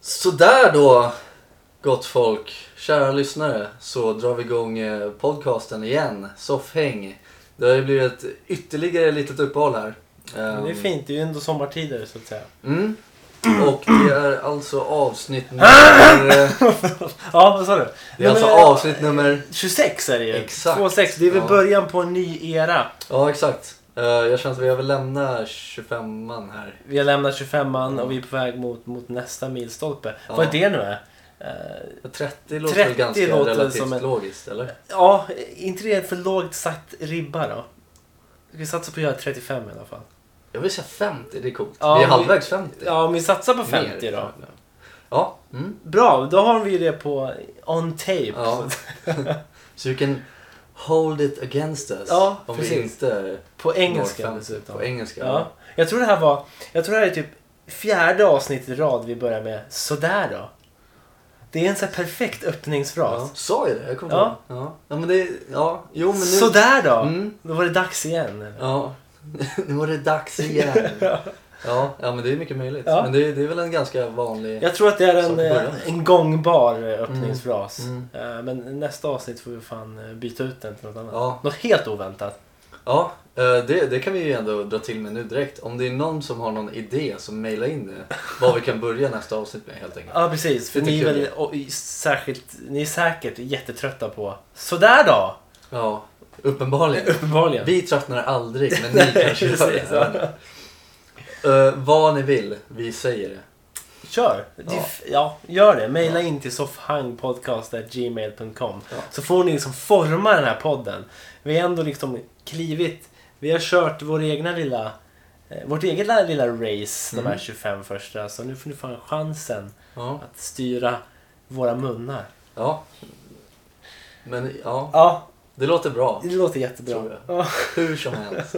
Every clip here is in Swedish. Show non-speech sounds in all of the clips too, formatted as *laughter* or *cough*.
Sådär då, gott folk, kära lyssnare, så drar vi igång eh, podcasten igen, Soffhäng. Det har ju blivit ett ytterligare litet uppehåll här. Men det är Ehm, fint, det är ju ändå sommartider så att säga. Mm. Och det är alltså *clears throat* avsnitt nummer... eh, Ja, vad sa du? Det är alltså Nummer- avsnitt nummer... 26 är det ju. Exakt. 26, det är väl Ja. början på en ny era. Ja, exakt. Eh, Jag känner att vi har väl lämnat 25an här. Vi har lämnat 25an och vi är på väg mot, mot nästa milstolpe. Ja. Vad det nu är. Eh, 30 låter väl 30 ganska låter relativt som en- logiskt, eller? ja, inte det en för lågt satt ribba då? Vi satsar på att göra 35 i alla fall. Jag vill säga 50, det är coolt. Ja, vi är vi- halvvägs 50. Ja, om vi satsar på 50 Mer. då. Ja. Mm. Bra, då har vi det på on tape. ja. Så you can hold it against us. Ja, om vi precis. inte På når engelska 50. dessutom. På engelska. Ja. Jag tror det här var, jag tror det här är typ fjärde avsnittet i rad vi börjar med sådär då. Det är en så här perfekt Ja. öppningsfras. Sa jag det? Jag kommer Ja. ihåg. Ja. ja, men det... Ja. Jo, men nu... Sådär då! Mm. Då var det dags igen. Ja. *laughs* nu var det dags *laughs* igen. ja. ja, men det är mycket möjligt. Ja. Men det är, det är väl en ganska vanlig... Jag tror att det är Så en, det börjar. eh, en gångbar eh, öppningsfras. Mm. Eh, Men nästa avsnitt får vi fan eh, byta ut den till något annat. Ja. Något helt oväntat. Ja, eh, det, det kan vi ju ändå dra till med nu direkt. Om det är någon som har någon idé så mejla in det. Vad vi kan börja nästa avsnitt med helt enkelt. Ja precis, för Det ni är, tycker jag väl, och, i- särskilt, ni är säkert jättetrötta på Sådär då! Ja, uppenbarligen. Uppenbarligen. Vi tröttnar aldrig, men ni kanske gör precis, ja. det. Uh, vad ni vill, vi säger det. Kör! Ja. Ja. ja, gör det. Maila in till soffhangpodcast.gmail.com Ja. Så får ni liksom forma den här podden. Vi har ändå liksom klivit. Vi har kört vår egna lilla, eh, vårt eget lilla, lilla race de Mm. här 25 första. Så nu får ni fan chansen Ja. att styra våra munnar. ja. Men ja, Ja, det låter bra. det låter jättebra. Tror Ja. Hur som helst.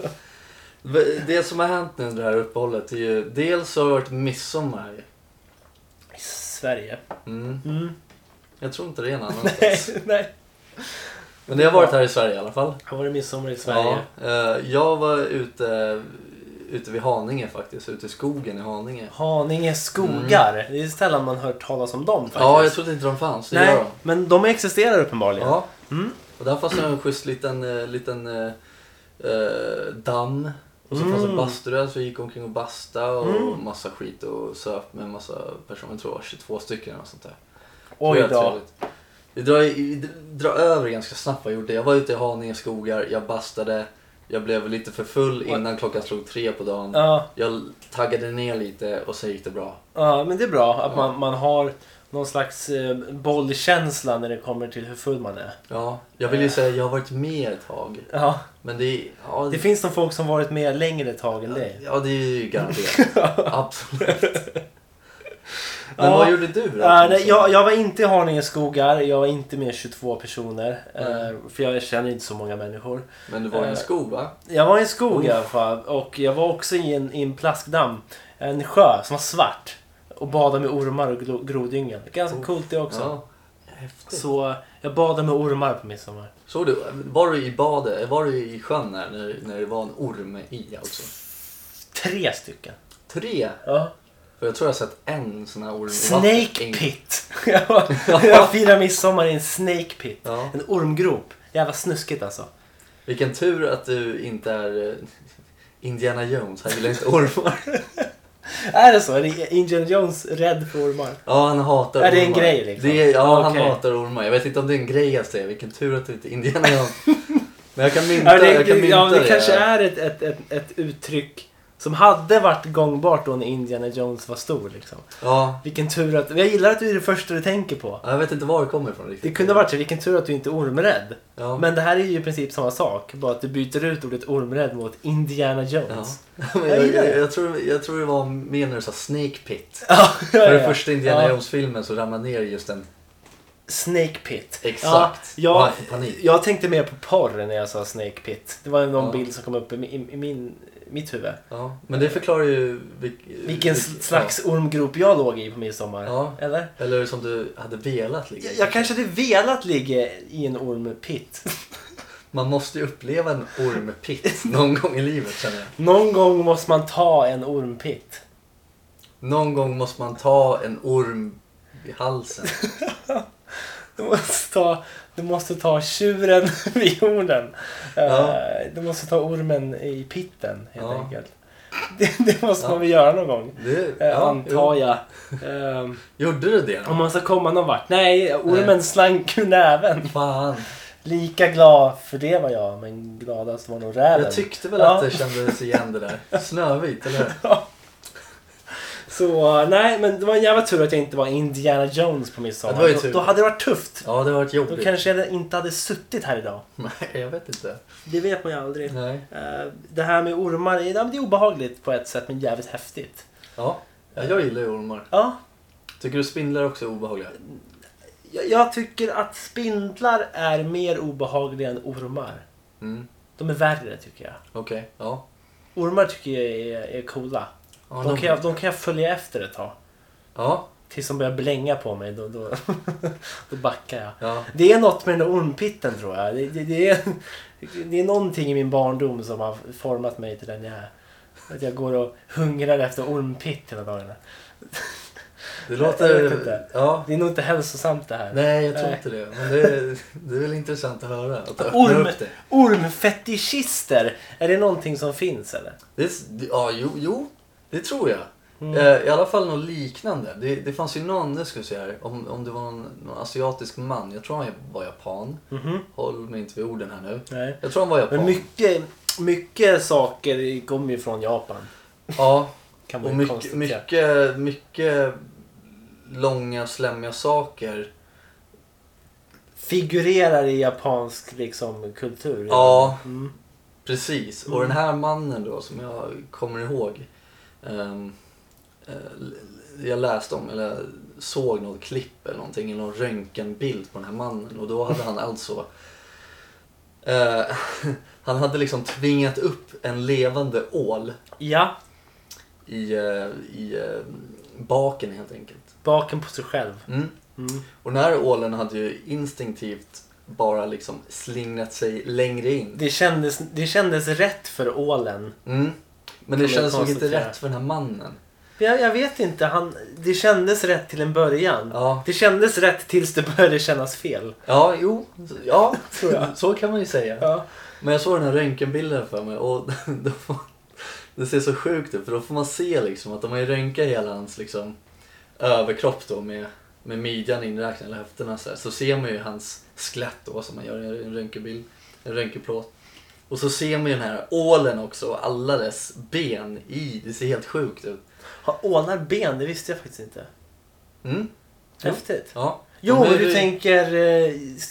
V- Det som har hänt nu under det här uppehållet är ju dels så har det varit midsommar. I Sverige. Mm. Mm. *laughs* Jag tror inte det är någon *laughs* Nej, annanstans. nej. Men det har varit här i Sverige i alla fall. Har varit midsommar i Sverige. Ja, eh, jag var ute, ute vid Haninge faktiskt, ute i skogen i Haninge. Haninge skogar. Det är sällan man hört talas om dem faktiskt. Mm. Ja, jag trodde inte de fanns. Det Nej, gör de. men de existerar uppenbarligen. Ja. Mm. Och där fanns det en schysst liten, eh, liten eh, eh, damm. Och så fanns det Mm. bastu där, så vi gick omkring och basta och Mm. massa skit och söp med massa personer, jag tror det var 22 stycken eller något sånt där. Det Oj var då. trevligt. Vi drar, vi drar över ganska snabbt vad jag gjorde. Jag var ute i Haninge skogar, jag bastade, jag blev lite för full innan klockan slog tre på dagen. Ja, Jag taggade ner lite och sen gick det bra. ja, men det är bra att Ja. man, man har någon slags eh, bollkänsla när det kommer till hur full man är. Ja, jag Eh. vill ju säga att jag har varit med ett tag. Ja. Men det är... Ja, Det finns de folk som varit med längre tag än dig. ja, det är ju *laughs* garanterat. Absolut. Men Ja. vad gjorde du då? Ja, nej, jag, jag var inte i Haninge skogar, jag var inte med 22 personer. Mm. eh, För jag känner inte så många människor. Men du var i en Eh, skog va? Jag var i en skog i Uff. alla fall och jag var också i en, i en plaskdamm. En sjö som var svart. Och badade med ormar och gro- grodyngel. Ganska Uff. coolt det också. Ja. Häftigt. Så jag badade med ormar på midsommar. Såg du? Var du i badet? Var du i sjön där när, när det var en orm i också? Tre stycken. Tre? Ja. För jag tror jag har sett en sån här orm i Snake vatten. pit! *laughs* jag, var- jag firade midsommar i en snake pit. Ja. En ormgrop. Jävla snuskigt alltså. Vilken tur att du inte är eh, *laughs* Indiana Jones. Han gillar inte ormar. Är det så? Är det Indiana Jones rädd för ormar? Ja, han hatar Är det en ormar. grej, liksom? Det är, ja, han Okej. hatar ormar. Jag vet inte om det är en grej jag säger. Vilken tur att du inte är Indiana *laughs* Jones. Men jag kan mynta Ja, det. det, Jag kan mynta ja, det, det. kanske är ett, ett, ett, ett uttryck som hade varit gångbart då när Indiana Jones var stor. Liksom. Ja. Vilken tur att... Jag gillar att du är det första du tänker på. Ja, Jag vet inte var det kommer ifrån riktigt. Det kunde ha varit så, vilken tur att du inte är ormrädd. Ja. Men det här är ju i princip samma sak, bara att du byter ut ordet ormrädd mot Indiana *laughs* Ja. Jones. Men Jag jag, gillar det. jag, jag, tror, jag tror det var mer när du sa Snake Pit. Ja. För den ja. första Indiana Ja. Jones-filmen så ramlade ner just en... Snake pit. Exakt. Ja, Oj, jag, panik. jag tänkte mer på porr när jag sa snake pit. Det var någon Ja. bild som kom upp i, mi- i, i min, mitt huvud. Ja. Men det förklarar ju... vilk- Vilken vilk- slags ormgrop jag låg i på midsommar. Ja. Eller? Ja. Eller som du hade velat ligga Jag, i. jag kanske hade velat ligga i en ormpit. Man måste ju uppleva en ormpitt någon gång i livet känner jag. *laughs* Någon gång måste man ta en ormpit. Någon gång måste man ta en orm i halsen. Du måste ta, du måste ta tjuren *laughs* vid hornen. Eh, Ja. Du måste ta ormen i pitten helt Ja. enkelt. *laughs* Det, det måste Ja. man väl göra någon gång. *laughs* Det, eh, ja, antar jo. *laughs* jag. Ehm, Gjorde du det? om man ska komma någon vart. Nej, ormen slank ur näven. Fan. Lika glad för det var jag, men gladast var nog räven. Jag tyckte väl Ja. att det kändes igen det där. Snövit, eller hur? Så eh, nej, men det var en jävla tur att jag inte var Indiana Jones på midsommar. Ja, det var ju då, tur. då hade det varit tufft. Ja, det har varit Då jobbigt. kanske jag inte hade suttit här idag. *laughs* Nej, jag vet inte. Det vet man ju aldrig. Nej. Eh, Det här med ormar, ja, men det är obehagligt på ett sätt men jävligt häftigt. Ja, ja, jag gillar ju ormar. Ja, Tycker du spindlar också är obehagliga? jag- jag tycker att spindlar är mer obehagliga än ormar. Mm, De är värre tycker jag. okej. Ja. Ormar tycker jag är, är coola. Ja, De kan, jag, de kan jag följa efter ett tag. ja, Tills de börjar blänga på mig, då, *laughs* då, då backar jag. ja. Det är något med den där ormpitten tror jag. Det, det, det, är, det är någonting i min barndom som har format mig till den jag är. Att jag går och hungrar efter ormpitt hela dagarna. Det Jag vet låter... inte. Ja. Det är nog inte hälsosamt det här. Nej, jag tror Nej. inte det. Men det är, det är väl intressant att höra. Att öppna Orm. upp det. Ormfetischister, är det någonting som finns eller? det är, s- ja, jo, jo. Det tror jag. Mm. Eh, I alla fall något liknande. Det, det fanns ju någon, nu ska vi se här, om, om det var någon, någon asiatisk man. Jag tror han var japan. Mhm. Håll mig inte vid orden här nu. Nej. Jag tror han var Men japan. mycket, mycket saker kommer ju från Japan. Ja, Kan man Och ju mycket, konstatera. mycket, mycket långa slämmiga saker. Figurerar i japansk liksom, kultur. Ja. Mm. Precis. Och den här mannen då som jag kommer ihåg. ehm, eh, l- l- jag läste om, eller jag såg något klipp eller någonting, eller någon röntgenbild på den här mannen. Och då hade han alltså... eh, *laughs* han hade liksom tvingat upp en levande ål ja, i, eh, i eh, baken helt enkelt. baken på sig själv. Mm. Mm. Och den här ålen hade ju instinktivt bara liksom slingrat sig längre in. Det, kändes, det kändes rätt för ålen. Mm. Men det Kan kändes man nog inte konstatera. rätt för den här mannen. Men Jag, jag vet inte, han, det kändes rätt till en början. Ja, Det kändes rätt tills det började kännas fel. ja jo, ja, Tror jag. så kan man ju säga. Ja. Men jag såg den här röntgenbilden för mig och *laughs* då får, det ser så sjukt ut för då får man se liksom att de har ju röntgat hela hans liksom, överkropp då med, med midjan inräknad, eller höfterna så, här. så ser man ju hans skelett då som man gör i en röntgenbild, en röntgenplåt. Och så ser man ju den här ålen också och alla dess ben i, det ser helt sjukt ut. Har ålar ben? Det visste jag faktiskt inte. Mm, Jo. Häftigt. ja. Jo, Men men du det- tänker eh,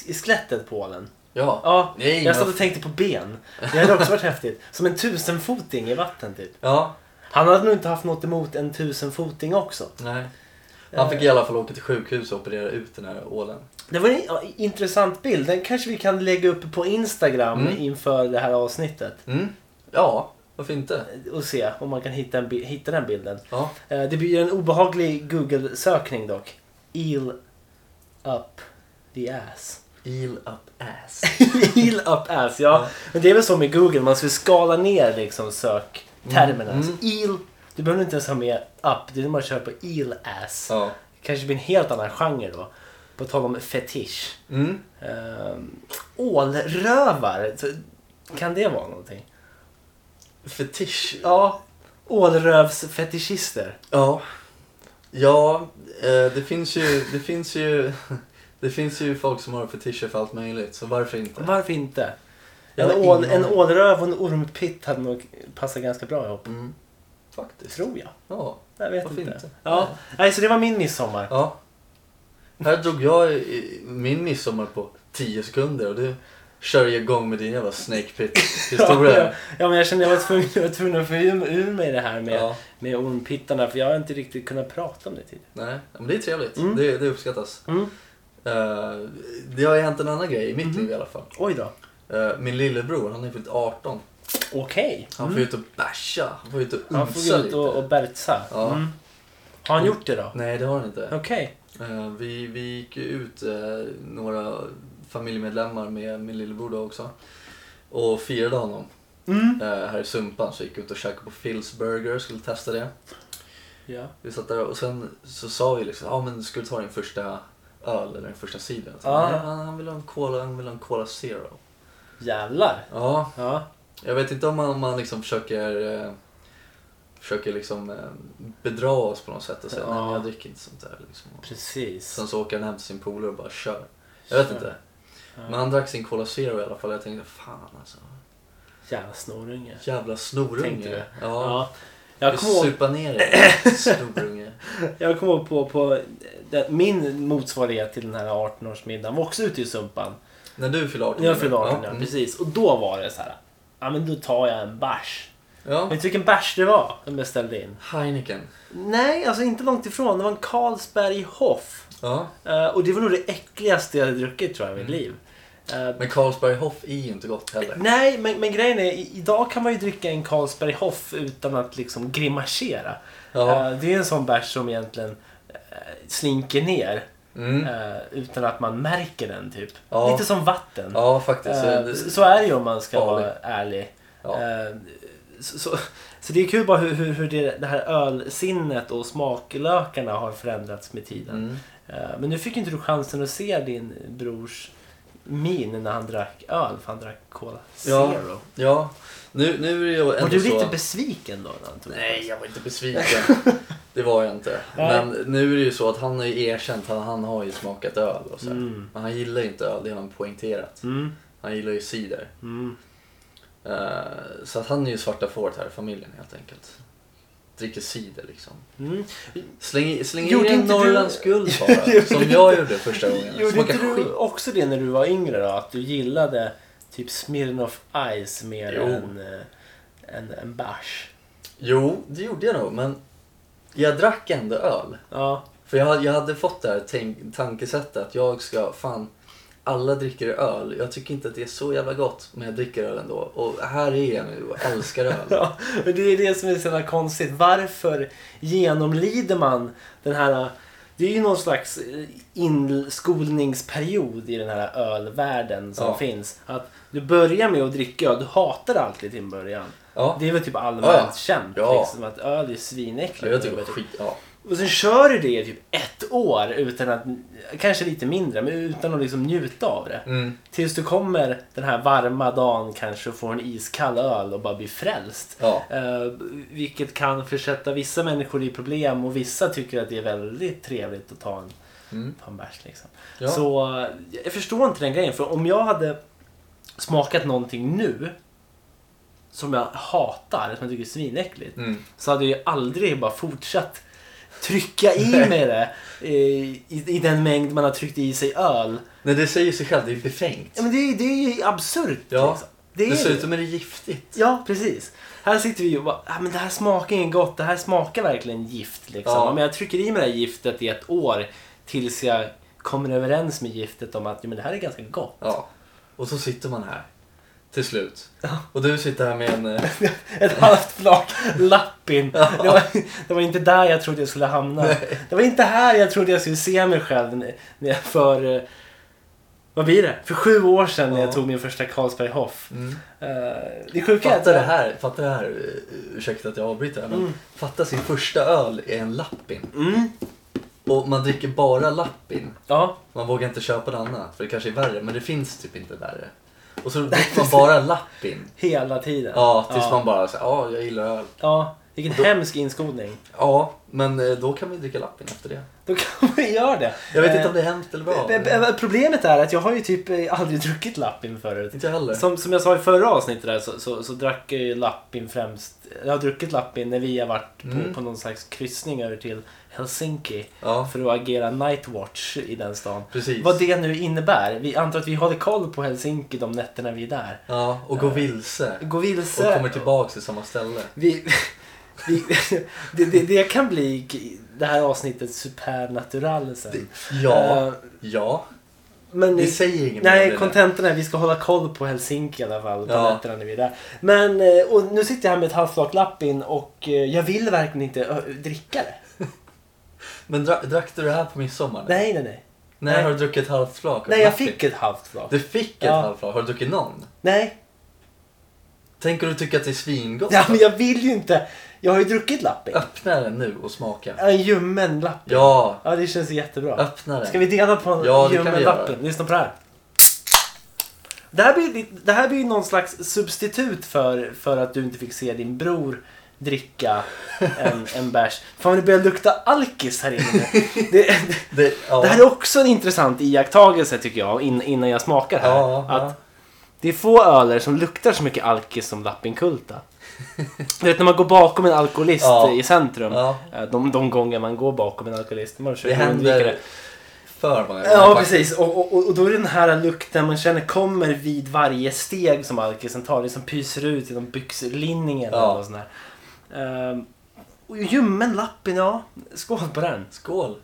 i skelettet på ålen. Ja. Ja, Nej, jag men- satt och tänkte på ben. Det hade också varit häftigt. Som en tusenfoting i vatten typ. Ja, Han hade nog inte haft något emot en tusenfoting också. nej. Han fick i alla fall åka till sjukhus och operera ut den här ålen. Det var en ja, intressant bild. Den kanske vi kan lägga upp på Instagram Mm. inför det här avsnittet. Mm. Ja, varför inte? Och se om man kan hitta, en, bi- hitta den bilden. Ja. Eh, Det blir en obehaglig Google-sökning dock. Eel up the ass. *laughs* Eel up ass. Heel up ass, ja. Men det är väl så med Google, man ska skala ner liksom söktermerna. Mm, Så eel, du behöver inte ens ha med up, det är när man kör på eel ass. Ja. kanske blir en helt annan genre då. På tal om fetisch. Mm. Ehm, ålrövar, så, kan det vara någonting? Fetisch. Ja, ålrövsfetischister. Ja. Ja, eh, det finns ju... Det finns ju... *laughs* Det finns ju folk som har fetischer för allt möjligt, så varför inte? Varför inte? Jag En, har ål, ingen en aning. ålröv och en ormpitt hade nog passat ganska bra ihop. Mm. Faktiskt. Tror jag. Ja. Jag vet Varför inte. inte? Ja. Nej, så det var min midsommar. ja. Här drog jag i- i- min midsommar på 10 sekunder och du kör ju igång med din jävla snake *laughs* pit Ja, historia. ja, men jag kände jag var tvungen, jag var tvungen att få ur, ur mig det här med, Ja. med ormpittarna för jag har inte riktigt kunnat prata om det tidigare. Nej, men det är trevligt. Mm. Det, det uppskattas. Mm. Eh, det har hänt en annan grej i mitt liv i alla fall. Oj då. Eh, min lillebror, han har ju fyllt 18. Okej. Han får ju ut och basha. Han får ju ut och Mm. Han får unsa gå ut lite. och, och bertsa. Ja. Mm. Mm. Har han gjort det då? Nej, det har han inte. Okej. Eh, vi, vi gick ju ut, eh, några familjemedlemmar med min lillebror då också. Och firade honom Mm. eh, här i Sumpan. Så gick vi ut och käkade på Phil's Burger, skulle testa det. Ja. Vi satt där och sen så sa vi liksom, ja ah, men ska du ta din första öl eller den första cidern? Så, Ja. "Nej, Han, han vill ha en cola, han vill ha en cola zero. Jävlar. Ja, Ja. jag vet inte om man, om man liksom försöker, eh, försöker liksom eh, bedra oss på något sätt och säga, Ja. nej men jag dricker inte sånt där. Liksom. Precis. Sen så åker han hem till sin polare och bara kör. Jag vet inte. Ja. Men han drack sin cola zero i alla fall. Jag tänkte, fan alltså. Jävla snorunge. Jävla snorunge. Tänkte du? Ja. Ja. Jag Du kommer ihåg Supa ner *laughs* dig, snorunge. Jag kommer ihåg på, på den- min motsvarighet till den här 18-årsmiddagen var också ute i Sumpan. När du fyllde 18. När jag fyllde 18 ja. ja, Mm. precis. Och då var det så här. Ja men då tar jag en bärs. Ja. Vet du vilken bärs det var som jag ställde in? Heineken. Nej, alltså inte långt ifrån. Det var en Carlsberg Hoff. Ja. Eh, och det var nog det äckligaste jag hade druckit tror jag i mitt liv. Eh, Men Carlsberg Hoff är ju inte gott heller. nej, men, men grejen är i- idag kan man ju dricka en Carlsberg Hoff utan att liksom grimasera. Ja. Eh, det är en sån bärs som egentligen eh, slinker ner. Mm. Eh, utan att man märker den typ. Ja. Lite som vatten. Ja, faktiskt. Så- Eh, så- så är det ju om man ska Farlig. vara ärlig. Ja. Eh, så, så, så det är kul bara hur, hur, hur det, det här ölsinnet och smaklökarna har förändrats med tiden. Mm. Eh, men nu fick ju inte du chansen att se din brors min när han drack öl för han drack Cola Ja, Zero. Ja. Nu, nu är det ju var ändå du så... lite besviken då? När han tog Nej, jag var inte *laughs* besviken. Det var jag inte. Nej. Men nu är det ju så att han har ju erkänt, han, han har ju smakat öl och så här. Mm. Men han gillar ju inte öl, det har han poängterat. Mm, Han gillar ju cider. mm. Eh, så att han är ju svarta fåret här i familjen helt enkelt. Dricker cider liksom. Mm. Släng, i- släng Gjorde i en inte du- Norrlands guld bara. *laughs* Gjorde som inte- jag gjorde första gången. Gjorde Smakar inte du skit. också det när du var yngre då? Att du gillade typ Smirnoff Ice mer Jo. än eh, en, en bärs? Jo, det gjorde jag nog. Men jag drack ändå öl. Ja. *laughs* För jag, hade- jag hade fått det här tänk, tankesättet att jag ska, fan, alla dricker öl. Jag tycker inte att det är så jävla gott, men jag dricker öl ändå. Och här är jag nu och älskar öl. ja. men Det är det som är så jävla konstigt. Varför genomlider man den här... eh, Det är ju någon slags eh, inskolningsperiod i den här ölvärlden som Ja. finns. Att du börjar med att dricka öl, du hatar alltid till en början. Ja, Det är väl typ allmänt Ja, ja. känt Ja. liksom, att öl är svinäckligt. ja *laughs* jag tycker det typ var skit. Ja. Och sen kör du det i typ ett år utan att, kanske lite mindre, men utan att liksom njuta av det. Mm. Tills du kommer den här varma dagen kanske och får en iskall öl och bara blir frälst. Ja. Eh, vilket kan försätta vissa människor i problem och vissa tycker att det är väldigt trevligt att ta en, Mm. ta en bärs. Liksom. Ja. Så eh, jag förstår inte den grejen. För om jag hade smakat någonting nu som jag hatar, som jag tycker är svinäckligt Mm. så hade jag ju aldrig bara fortsatt trycka i *laughs* mig det eh, i, i den mängd man har tryckt i sig öl. Nej, det säger sig själv, det är befängt. Ja, men det, är- det är ju absurt. Ja. Liksom. Det är Dessutom är det giftigt. Ja, precis. Här sitter vi och bara, ah, men det här smakar inget gott, det här smakar verkligen gift. Liksom. Ja. Ja. Men jag trycker i mig det här giftet i ett år tills jag kommer överens med giftet om att jo, men det här är ganska gott. *laughs* Ja. Och så sitter man här. Till slut. Och du sitter här med en... *laughs* eh, Ett halvt flak lappin. Det, var, det var inte där jag trodde jag skulle hamna. Det var inte här jag trodde jag skulle se mig själv när- när jag för... eh, Vad blir det? För sju år sedan när Ja. jag tog min första Carlsberg Hoff. Mm. Eh, det sjuka är att... Fatta det här, fatta det här, eh, ursäkta att jag avbryter här, men fatta sin första öl är en lappin. Mm, Och man dricker bara lappin. ja. Man vågar inte köpa något annat för det kanske är värre, men det finns typ inte värre. Och så dricker man bara lappin. Hela tiden. Ja, tills ja. man bara säger ja, jag gillar öl. Ja, vilken hemsk inskolning. Ja, men eh, då kan man ju dricka lappin efter det. Då kan man göra det. Jag vet inte Eh, om det är hemskt eller bra. b- b- Problemet är att jag har ju typ eh, aldrig druckit lappin förut. Inte jag heller. Som, som jag sa i förra avsnittet där så, så, så drack jag ju lappin främst. Jag har druckit lappin när vi har varit på, Mm. på någon slags kryssning över till Helsinki. Ja, För att agera nightwatch i den stan. precis. Vad det nu innebär. Vi antar att vi håller koll på Helsinki de nätterna vi är där. Ja, och gå vilse. Gå Eh, vilse. Och kommer tillbaka till samma ställe. Vi, vi, det, det, det kan bli g- det här avsnittet supernatural sen. Ja, Eh, ja. men Vi säger inget mer om Nej, det. kontentan är vi ska hålla koll på Helsinki i alla fall. På Ja. nätterna när vi är där. Men eh, och nu sitter jag här med ett halvflak lappin och eh, jag vill verkligen inte ö, dricka det. Men dra- drack du det här på midsommar? Nej, nej, nej. När Nej. har du druckit ett halvt flak? av Nej, jag lappin? fick ett halvt flak. Du fick ett Ja. halvt flak? Har du druckit någon? Nej, Tänker du tycka att det är svingott? ja, men jag vill ju inte. Jag har ju druckit lappin. Öppna den nu och smaka. En ljummen lappin. Ja, Ja, det känns jättebra. öppna den. Ska vi dela på en Ja, det kan ljummen vi göra. lappin? Lyssna på det här. Det här blir, lite- det här blir ju någon slags substitut för, för att du inte fick se din bror dricka en, en bärs. Fan vad det börjar lukta alkis här inne. Det, det, Det, ja. det här är också en intressant iakttagelse tycker jag in, innan jag smakar här. Ja, att ja. Det är få öler som luktar så mycket alkis som Lappinkulta. du vet när man går bakom en alkoholist Ja. i centrum. Ja. Eh, De, de gånger man går bakom en alkoholist. Man det försöker undvika händer det. för många Ja faktiskt. precis och, och, och- och då är det den här lukten man känner kommer vid varje steg som alkisen tar. Det som pyser ut genom byxlinningen. Ja. Ja. Och sån här. Ehm, och ljummen lappen, ja. Skål på den. Skål.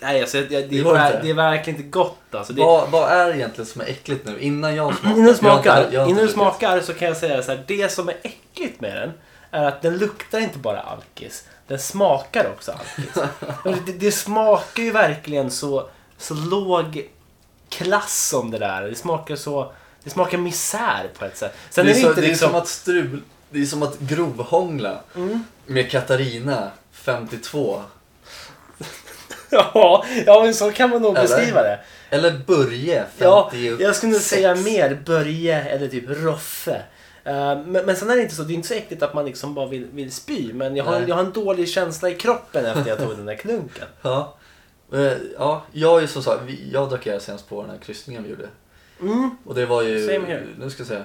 Nej, alltså, jag- jag- det, Det är går ver- inte. det är verkligen inte gott. Alltså. Det, Vad, vad är det egentligen som är äckligt nu innan jag smakar? Innan Jag har du inte- smakar, jag har inte innan du druckit. smakar så kan jag säga så här. Det som är äckligt med den är att den luktar inte bara alkis. Den smakar också alkis. *laughs* Men det, det smakar ju verkligen så, så låg klass som det där. Det smakar så... Det smakar misär på ett sätt. Sen det, är det så, inte det är liksom... Mm. som att strul, det är som att grovhångla med Katarina 52. *laughs* ja, ja, men så kan man nog Eller? beskriva det. Eller Börje 56. Ja, jag skulle nog säga mer Börje eller typ Roffe. Eh, men, men sen är det inte så, det är inte så äckligt att man liksom bara vill, vill spy. Men jag har, Nej. jag har en dålig känsla i kroppen efter jag tog den där *laughs* klunken. Ja. Eh, ja, jag är ju som sagt, vi- jag drack öl senast på den här kryssningen vi gjorde. Mm, Och det var ju, Same here. nu ska jag säga,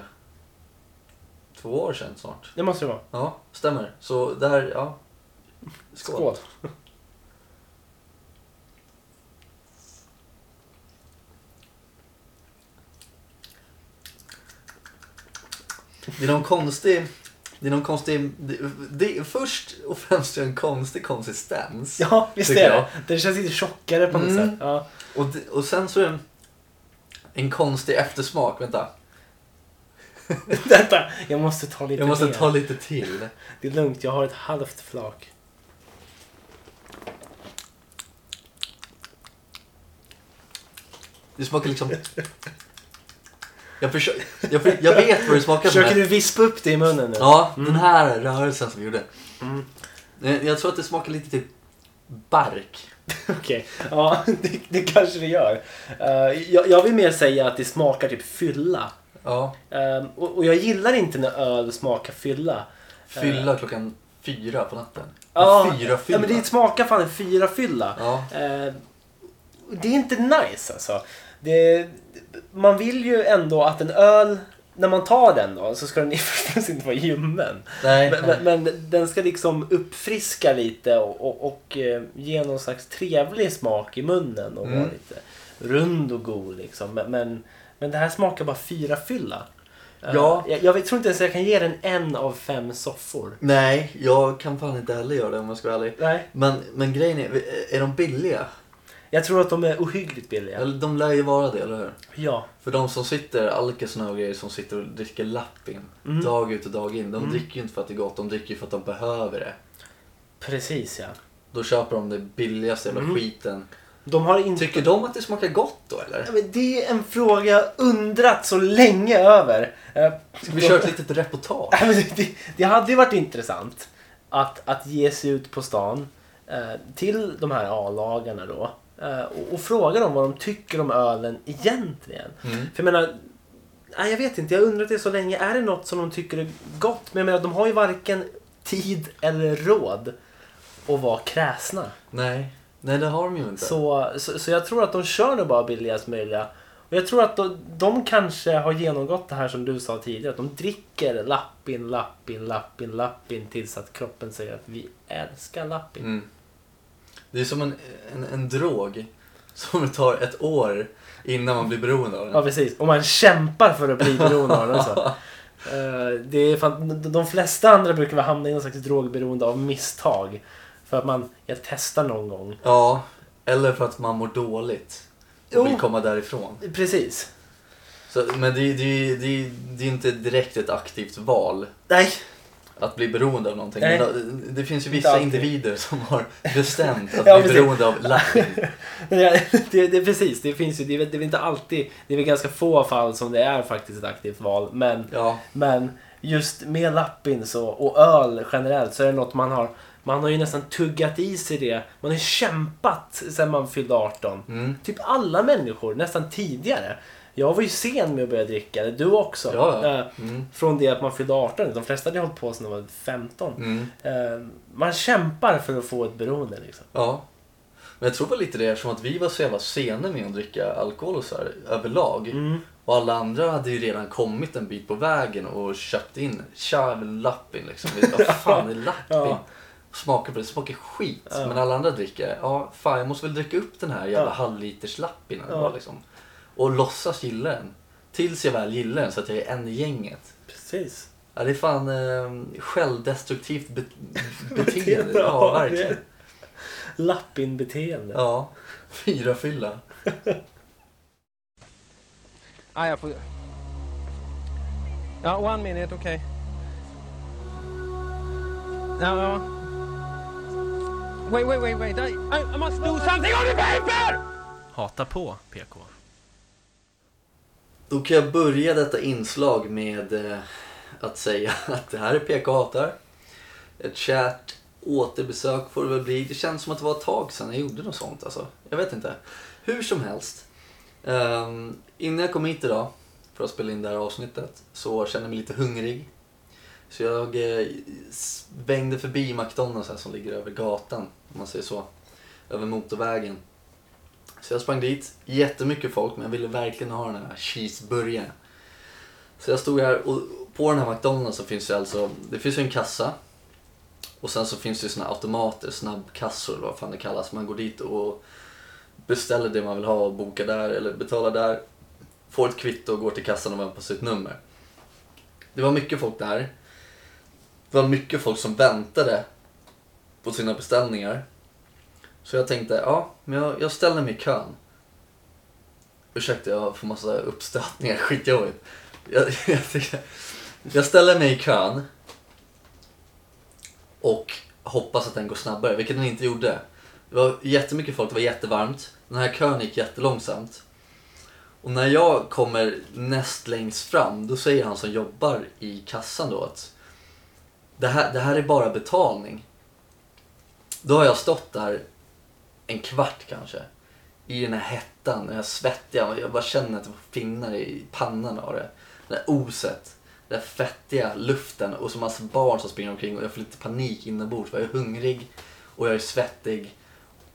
två år sedan snart. det måste det vara. Ja, stämmer. Så där, ja. Skål. Skål. Det är någon konstig, det är någon konstig, det, det är först och främst en konstig konsistens. Ja, visst Tycker är jag. det. Den känns lite tjockare på något Mm. sätt. *laughs* Ja. Och, det- och sen så är det en, en konstig eftersmak, vänta. Vänta, jag måste ta lite Jag måste mer. ta lite till. Det är lugnt, jag har ett halvt flak. Det smakar liksom... Jag, försö- jag, för- jag vet vad det smakar som Försöker här. du vispa upp det i munnen nu? Ja, den här rörelsen som vi gjorde. Mm. Eh, Jag tror att det smakar lite typ bark. Okej, ja *laughs* det, det kanske det gör. Eh, jag, jag vill mer säga att det smakar typ fylla. Ja, Ehm, och, och jag gillar inte när öl smakar fylla. fylla klockan fyra på natten. Eh. Ja, fyra Ja, fylla. men det smakar fan en fyra fylla. Ehm, Ja. det är inte nice alltså. Det, man vill ju ändå att en öl, när man tar den då, så ska den *laughs* ju förstås inte vara ljummen. Nej, Men, nej. men, men den ska liksom uppfriska lite och, och, och eh, ge någon slags trevlig smak i munnen och vara Mm. lite rund och god liksom. Men, men, men det här smakar bara fyra fylla. Eh, Ja. Jag, jag tror inte ens jag kan ge den en av fem soffor. nej, jag kan fan inte heller göra det om jag ska vara ärlig. Nej. Men, men grejen är, är de billiga? Jag tror att de är ohyggligt billiga. Eller de lär ju vara det, eller hur? Ja. För de som sitter, alkisarna och grejer, som sitter och dricker lappin Mm. dag ut och dag in. De dricker ju inte för att det är gott, de dricker ju för att de behöver det. Precis ja. Då köper de det billigaste jävla Mm. skiten. De har inte... Tycker de att det smakar gott då eller? Ja, men det är en fråga jag undrat så länge över. Eh, Ska vi köra ett litet reportage? Ja, men det- det, det hade ju varit intressant att, att ge sig ut på stan eh, till de här A-lagarna då eh, och, och fråga dem vad de tycker om ölen egentligen. Mm. För jag menar, nej, jag vet inte, jag har undrat det så länge. Är det något som de tycker är gott? Men jag menar, de har ju varken tid eller råd att vara kräsna. Nej, nej det har de ju inte. Så, så, så jag tror att de kör nu bara billigast möjliga. Och jag tror att de, de kanske har genomgått det här som du sa tidigare. Att de dricker lappin, lappin, lappin, lappin tills att kroppen säger att vi älskar lappin. Mm. Det är som en, en, en drog som tar ett år innan man blir beroende av Ja den. precis, och man kämpar för att bli beroende av den. Så. Eh, det är fan, de- de flesta andra brukar väl hamna i någon slags drogberoende av misstag. För att man, jag testar någon gång. Ja, eller för att man mår dåligt och vill Jo. komma därifrån. Precis. Så, men det, det, det, det är ju inte direkt ett aktivt val Nej. att bli beroende av någonting. Nej. Men eh, det, det finns ju Inte vissa alltid. individer som *laughs* har bestämt att Ja, bli precis. beroende av *laughs* lappning. Men det, det, *laughs* det, precis, det finns ju, det är, väl- det är väl inte alltid, det är väl ganska få fall som det är faktiskt ett aktivt val. Men, Ja, men just med lappin så, och öl generellt så är det något man har, man har ju nästan tuggat i sig det. Man har ju kämpat sedan man fyllde 18. mm. Typ alla människor, nästan tidigare. Jag var ju sen med att börja dricka det, du också. ja, Eh, ja. Mm. Från det att man fyllde 18, de flesta hade hållit på sedan de var 15. Mm. Eh, man kämpar för att få ett beroende liksom. ja. Men jag tror väl lite det eftersom att vi var så jävla sena med att dricka alkohol och så här överlag. Mm. Och alla andra hade ju redan kommit en bit på vägen och köpt in Charvel Lappin liksom. Vi *laughs* bara, Vad fan är Lappin? Ja. Smakar på det, smakar skit. Ja. Men alla andra dricker, ja fan jag måste väl dricka upp den här jävla Ja. halvliters Lappin eller Ja. vad liksom. Och låtsas gilla den. Tills jag väl gillar den så att jag är en i gänget. Precis. Ja, det är fan eh, självdestruktivt be- beteende. *laughs* Beteende, Ja, ja, verkligen. Lappinbeteende. Ja. Fyra fylla. Ah, jag får... Ja, one minute, okej. Ja, ja. Wait, wait, wait, wait. I, I must do something on the paper! Hata på PK. Då kan jag börja detta inslag med eh, att säga *laughs* att det här är PK Hatar. Ett kärt återbesök får det väl bli. Det känns som att det var ett tag sedan jag gjorde något sånt alltså. Jag vet inte. Hur som helst. ehm, innan jag kom hit idag för att spela in det här avsnittet så kände jag mig lite hungrig. Så jag eh, svängde förbi McDonalds här som ligger över gatan, om man säger så. Över motorvägen. Så jag sprang dit, jättemycket folk, men jag ville verkligen ha den här cheeseburgaren. Så jag stod här och på den här McDonalds så finns det alltså, det finns ju en kassa. Och sen så finns det ju såna automater, snabbkassor eller vad fan det kallas. Man går dit och beställer det man vill ha och bokar där eller betalar där. Får ett kvitto och går till kassan och väntar på sitt nummer. Det var mycket folk där. Det var mycket folk som väntade på sina beställningar. Så jag tänkte, ja, men jag, jag ställer mig i kön. Ursäkta, jag får massa uppstötningar, *laughs* skitjobbigt. Jag, jag, tyckte- jag ställer mig i kön och hoppas att den går snabbare, vilket den inte gjorde. Det var jättemycket folk, det var jättevarmt. Den här kön gick jättelångsamt. Och när jag kommer näst längst fram, då säger han som jobbar i kassan då att det här, det här är bara betalning. Då har jag stått där en kvart kanske. I den här hettan, den här svettiga. och Jag bara känner att jag får finnar i pannan av det. Det här oset. Den här fettiga luften och så massa barn som springer omkring och jag får lite panik inombords. för Jag är hungrig och jag är svettig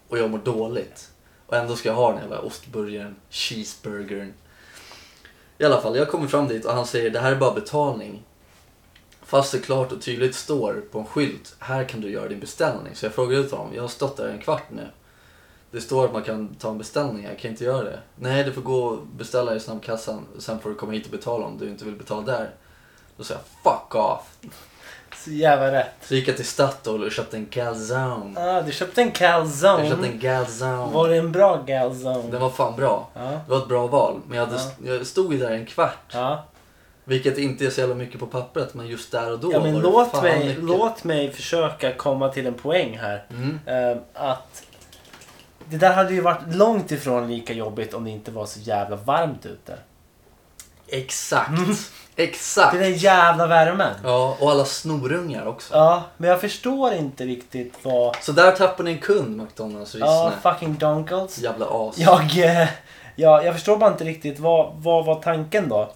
och jag mår dåligt. Och ändå ska jag ha den jävla ostburgaren, cheeseburgern. I alla fall, jag kommer fram dit och han säger det här är bara betalning. Fast det klart och tydligt står på en skylt, här kan du göra din beställning. Så jag frågade ut honom, jag har stått där en kvart nu. Det står att man kan ta en beställning, jag kan inte göra det. Nej, du får gå och beställa i snabbkassan, sen får du komma hit och betala om du inte vill betala där. Då sa jag fuck off. Så jävla rätt. Så gick jag till Statoil och köpte en calzone. Ah, du köpte en Jag calzone. köpte en Var calzone. det en bra calzone? Den var fan bra. Ja. Det var ett bra val, men jag, hade, Ja. jag stod ju där en kvart. Ja. Vilket inte är så jävla mycket på pappret, men just där och då ja, men var låt fan mig, mycket. låt mig försöka komma till en poäng här. Mm. Eh, att det där hade ju varit långt ifrån lika jobbigt om det inte var så jävla varmt ute. Exakt. Mm. Det Exakt. är den jävla värmen. Ja, och alla snorungar också. Ja, men jag förstår inte riktigt vad... Så där tappar ni en kund, McDonalds och Ja, Rissne. fucking donkels. Jävla as. Jag, eh, ja, jag förstår bara inte riktigt. Vad, vad var tanken då?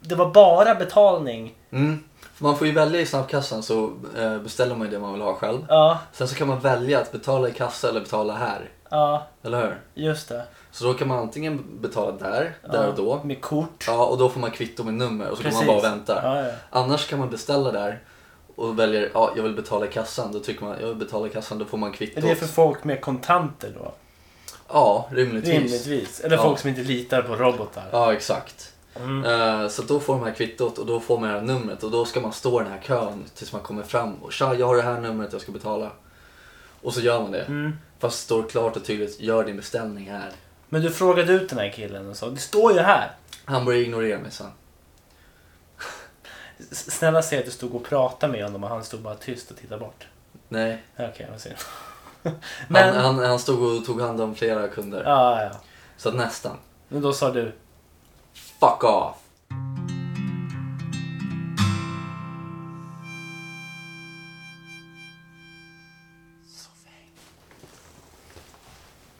Det var bara betalning. Mm. För Man får ju välja i snabbkassan så eh, beställer man ju det man vill ha själv. Ja, Sen så kan man välja att betala i kassa eller betala här. ja, Eller hur? just det. Så då kan man antingen betala där, där ja, och då. Med kort. Ja, och då får man kvitto med nummer och så går man bara och väntar. Ja, ja. Annars kan man beställa där och väljer, ja, jag vill betala i kassan. Då trycker man, jag vill betala i kassan, då får man kvittot. Är det för folk med kontanter då? Ja, rimligtvis. Rimligtvis. Eller Ja. folk som inte litar på robotar. Ja, exakt. Mm. Eh, Så då får man det här kvittot och då får man det här numret och då ska man stå i den här kön tills man kommer fram och tja, jag har det här numret, jag ska betala. Och så gör man det. Mm. Fast det står klart och tydligt, gör din beställning här. Men du frågade ut den här killen och sa det står ju här. Han börjar ignorera mig sen. S- Snälla säg att du stod och pratade med honom och han stod bara tyst och tittade bort. Nej, Okej, vad synd. han, Men... han, han stod och tog hand om flera kunder. Ja, ja. Så att nästan. Men då sa du... Fuck off!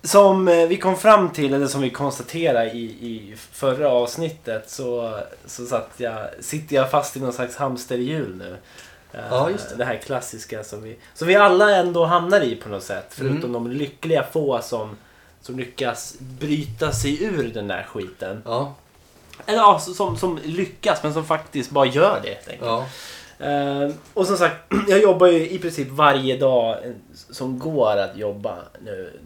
Som eh, vi kom fram till, eller som vi konstaterade i, i förra avsnittet så, så satt jag, sitter jag fast i någon slags hamsterhjul nu. Eh, Ja, just det. här klassiska som vi, som vi alla ändå hamnar i på något sätt. Förutom Mm. de lyckliga få som, som lyckas bryta sig ur den där skiten. Ja, Eller ja, som, som lyckas men som faktiskt bara gör det. helt enkelt. ja. Eh, och som sagt, *clears throat* jag jobbar ju i princip varje dag eh, som går att jobba nu.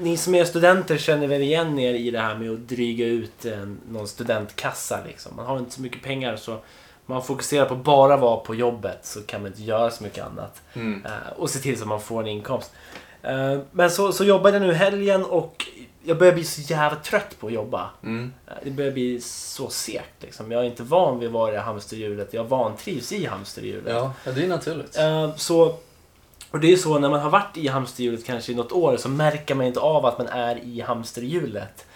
Ni som är studenter känner väl igen er i det här med att dryga ut eh, någon studentkassa liksom. Man har inte så mycket pengar så man fokuserar på bara vara på jobbet så kan man inte göra så mycket annat. Mm. Eh, och se till så att man får en inkomst. Eh, men så, så jobbade jag nu helgen och jag börjar bli så jävla trött på att jobba. Eh, Mm. Det börjar bli så segt liksom. Jag är inte van vid att vara i hamsterhjulet. Jag vantrivs i hamsterhjulet. Ja, ja, det är naturligt. Eh, så, och det är så när man har varit i hamsterhjulet kanske i något år så märker man inte av att man är i hamsterhjulet.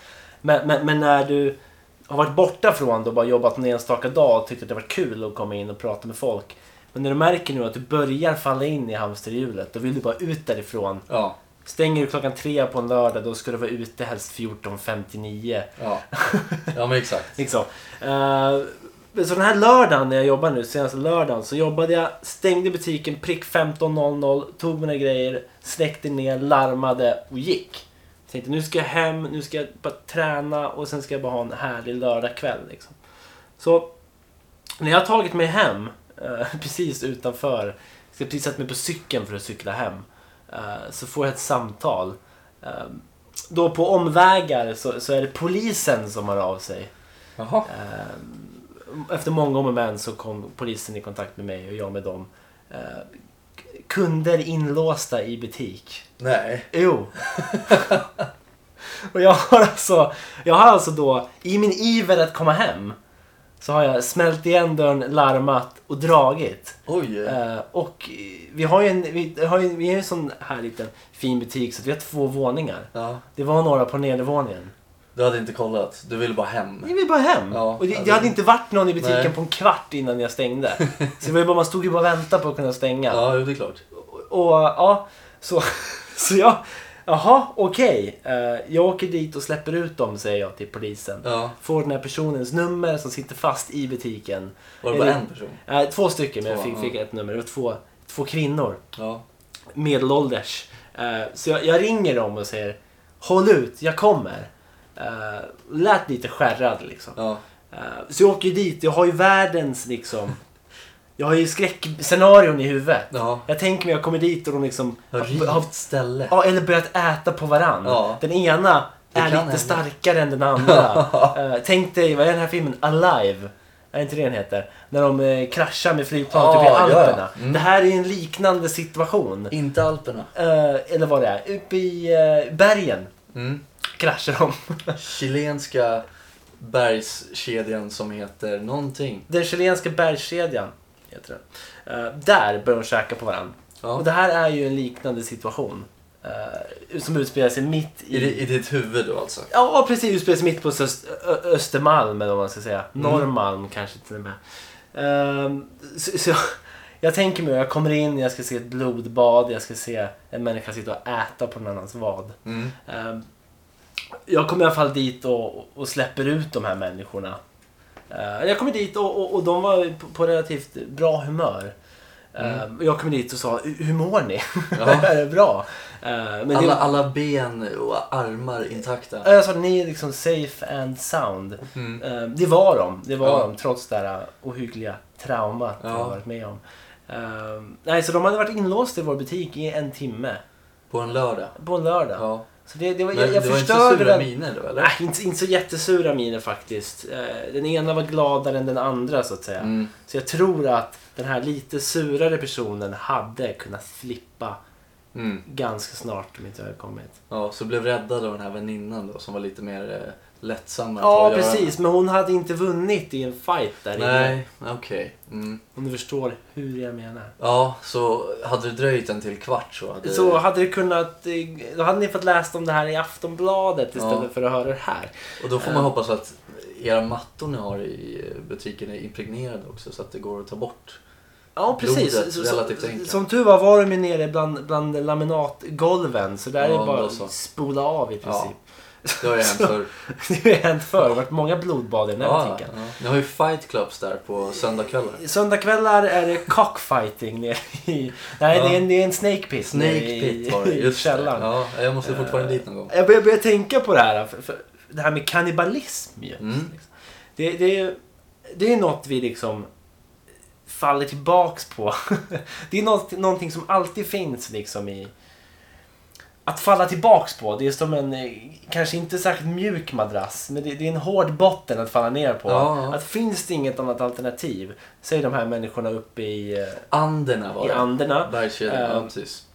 Men, men, men när du har varit borta från det och bara jobbat en enstaka dag och tyckt att det var kul att komma in och prata med folk. Men när du märker nu att du börjar falla in i hamsterhjulet då vill du bara ut därifrån. Ja, Stänger du klockan tre på en lördag då ska du vara ute helst 14.59. ja. Ja, men exakt. *laughs* Liksom. Eh, så den här lördagen när jag jobbar nu, senaste lördagen, så jobbade jag, stängde butiken prick 15.00, tog mina grejer, släckte ner, larmade och gick. Tänkte nu ska jag hem, nu ska jag bara träna och sen ska jag bara ha en härlig lördagkväll. Liksom. Så när jag har tagit mig hem, eh, *laughs* precis utanför, ska precis sätta mig på cykeln för att cykla hem, eh, så får jag ett samtal. Eh, då på omvägar så, så är det polisen som hör av sig. Jaha. Eh, Efter många om och men så kom polisen i kontakt med mig och jag med dem. Eh, k- Kunder inlåsta i butik. *laughs* Nej. Jo. *laughs* och jag har, alltså, jag har alltså då, i min iver att komma hem, så har jag smält igen dörren, larmat och dragit. Oj. Eh, och eh, vi har ju en, vi har ju, vi har ju en sån här liten fin butik så att vi har två våningar. Ja. Det var några på nedervåningen. Du hade inte kollat. Du ville bara hem. Jag vill bara hem. Ja, och det, ja, det det- hade inte varit någon i butiken Nej. på en kvart innan jag stängde. *laughs* Så det var ju bara, man stod ju bara och väntade på att kunna stänga. Ja, jo, det är klart. Och ja, så, *laughs* så jag... Jaha, okej. Eh, jag åker dit och släpper ut dem, säger jag till polisen. Ja. Får den här personens nummer som sitter fast i butiken. Var det bara Eller- en person? Eh, två stycken, men jag Två, fick, ja. fick ett nummer. Det var två, två kvinnor Ja. medelålders. Eh, Så jag, jag ringer dem och säger Håll ut, jag kommer. Eh, Lät lite skärrad liksom. Ja. Eh, Så jag åker ju dit, jag har ju världens liksom... Jag har ju skräckscenarion i huvudet. Ja. Jag tänker mig jag kommer dit och de liksom... Har har- rivit ställe. Ja, eller börjat äta på varann. Ja. Den ena Det är kan lite hända. starkare än den andra. *laughs* Eh, tänk dig, vad är den här filmen? Alive. Är inte det den heter? När de eh, kraschar med flygplan Ja, typ i ja, ja. Alperna. Mm. Det här är en liknande situation. Inte Alperna. Eh, eller vad det är. Uppe i eh, bergen Mm. kraschar de. *laughs* Chilenska bergskedjan som heter någonting. Den chilenska bergskedjan heter den. Eh, där börjar de käka på varandra. Och Ja. det här är ju en liknande situation. eh, som utspelar sig mitt i... I, di- I ditt huvud då alltså? Ja, precis. Utspelar sig mitt på Öst, Ö- Östermalm eller vad man ska säga. Mm. Norrmalm kanske till och med. Ehm, så, så, jag tänker mig, jag kommer in, jag ska se ett blodbad, jag ska se en människa sitta och äta på någon annans vad. Mm. Ehm, Jag kommer i alla fall dit och, och släpper ut de här människorna. Eh, Jag kommer dit och, och, och de var på, på relativt bra humör. Eh, och Jag kom dit och sa, "Hur- hur mår ni? Mm. Ja. är det *laughs* bra? Eh, Men Alla, det, alla ben och armar intakta. Ja, jag sa, ni är liksom safe and sound. Mm. Eh, Det var de, det var Ja. de trots det här ohyggliga traumat jag Ja. har varit med om. Eh, Nej, så de hade varit inlåsta i vår butik i en timme. På en lördag. På en lördag. Ja. Så det, det var, Men jag, jag det var inte förstörde så sura den. miner då eller? Nej, inte, inte så jättesura miner faktiskt. Eh, Den ena var gladare än den andra så att säga. Mm. Så jag tror att den här lite surare personen hade kunnat slippa Mm. ganska snart om inte jag hade kommit. Ja, så blev räddad av den här väninnan då som var lite mer eh, lättsam att ha Ja, att göra precis. Men hon hade inte vunnit i en fight där med. inne. Nej, okej. Mm. Om du förstår hur jag menar. Ja, så hade det dröjt en till kvart så hade... Så hade du kunnat... eh, Då hade ni fått läsa om det här i Aftonbladet Ja. istället för att höra det här. Och då får man hoppas att era mattor ni har i eh, butiken är impregnerade också så att det går att ta bort. Ja, precis. Blodet, Så- relativt så, enkelt. som tur var var de ju nere bland, bland laminatgolven. Så där Ja, är det bara då så. att spola av i Ja. princip. *laughs* Det har ju hänt förr. Det har ju hänt förr. Det har varit många blodbad i den här Ja, butiken. ja. Ni har ju fight clubs där på söndagskvällar. Söndagkvällar är det cockfighting nere i... Nej, Ja. det, är en, det är en snake pit. Snake nere pit i, var det, *laughs* i just det. källaren. Ja, jag måste fortfarande dit någon gång. Jag börjar, börjar tänka på det här. För, för det här med kannibalism ju. Mm. Det, det, är- det är något vi liksom faller tillbaks på. *laughs* Det är något, någonting som alltid finns liksom i... Att falla tillbaks på. Det är som en, eh, kanske inte särskilt mjuk madrass, men det, det är en hård botten att falla ner på. Ja, ja. Att finns det inget annat alternativ, säger de här människorna uppe i, eh, Anderna var i det. Anderna, Bergskedjan, ja Ehm, precis.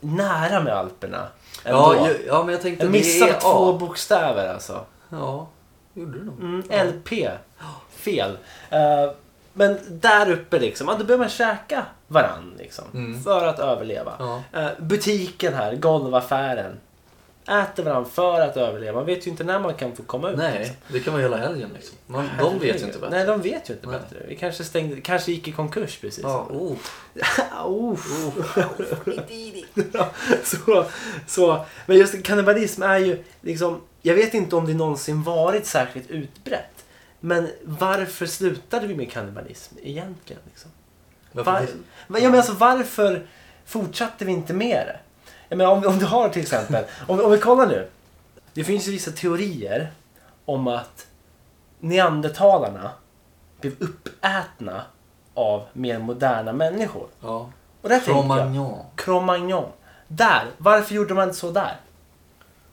nära med Alperna. Ändå. Ja, ju, ja, men jag tänkte jag det missade är två A. bokstäver alltså. Ja, gjorde du nog. Mm, LP. Fel. Eh, men där uppe liksom, ja, då börjar man käka varann liksom. Mm. För att överleva. Ja. Eh, butiken här, golvaffären. Äter varann för att överleva. Man vet ju inte när man kan få komma ut. liksom. Nej, det kan man göra hela helgen liksom. Man, de vet ju inte bättre. Nej, de vet ju inte Nej. bättre. Vi kanske, stängde, kanske gick i konkurs precis. Ja, oh. Oh. *laughs* så, så, men just kannibalism är ju liksom, jag vet inte om det någonsin varit särskilt utbrett. Men varför slutade vi med kannibalism egentligen? Liksom? Varför Var, finns- men, ja, men alltså, varför fortsatte vi inte med det? Jag menar, om, om du har till exempel, om, om vi kollar nu. Det finns ju vissa teorier om att neandertalarna blev uppätna av mer moderna människor. Ja. Och där tänker jag, Cromagnon. Cro-Magnon. Där, varför gjorde man inte så där?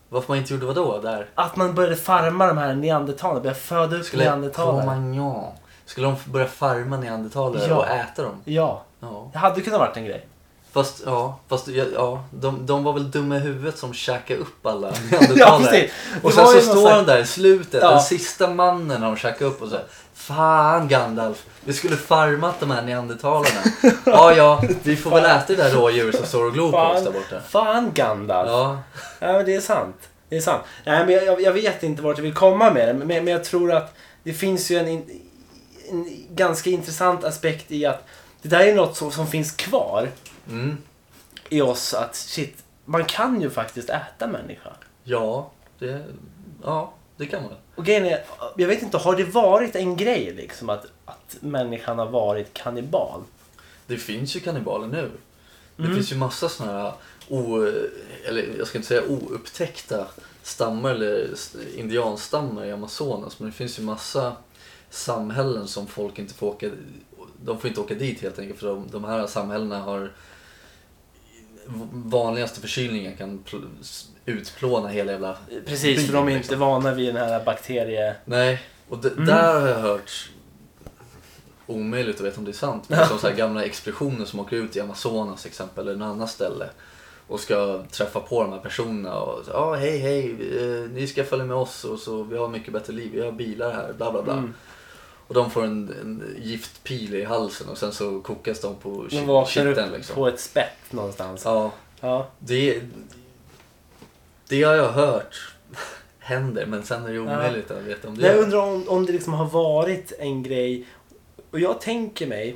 Varför man inte gjorde vadå där? Att man började farma de här neandertalarna, började föda upp Skulle neandertalare. Cromagnon. Skulle de börja farma neandertalare Ja. och äta dem? Ja, Ja. det hade kunnat varit en grej. Fast ja, fast ja, ja de, de var väl dumma i huvudet som käkade upp alla *laughs* Ja, neandertalare. precis. Det och sen var så ju någon står slags- de där i slutet, Ja. den sista mannen de käkade upp och så här, Fan Gandalf, vi skulle farmat de här *laughs* neandertalarna. ja, ja, vi får väl äta det där rådjuret som står och glor på oss där Fan, borta. fan Gandalf. Ja. Ja, men det är sant. Det är sant. Nej, men jag- jag, jag vet inte vart jag vill komma med det, men, men jag tror att det finns ju en, in, en ganska intressant aspekt i att det där är något som, som finns kvar mm, i oss att shit, man kan ju faktiskt äta människa. ja, det, ja, det kan man väl. Och grejen är, jag vet inte, har det varit en grej liksom att, att människan har varit kannibal? Det finns ju kannibaler nu. Det Mm. finns ju massa sådana här, o, eller jag ska inte säga oupptäckta stammar eller s- indianstammar i Amazonas. Men det finns ju massa samhällen som folk inte får åka, de får inte åka dit helt enkelt för de, de här samhällena har v- vanligaste förkylningen kan pl- s- utplåna hela jävla Precis, för byn, de är liksom. inte vana vid den här bakterie... Nej, och d- Mm. där har jag hört omöjligt att veta om det är sant. Men som så här gamla expeditioner som åker ut i Amazonas till exempel eller något annat ställe och ska träffa på de här personerna och så, ja hej hej, eh, ni ska följa med oss och så vi har mycket bättre liv, vi har bilar här, bla bla bla. Mm. Och de får en, en giftpil i halsen och sen så kokas de på De ki- vaknar kitteln upp liksom. på ett spett någonstans. Ja, Ja. det, det har jag hört *laughs* händer men sen är det omöjligt att veta om det Men Jag är- undrar om, om det liksom har varit en grej. Och jag tänker mig,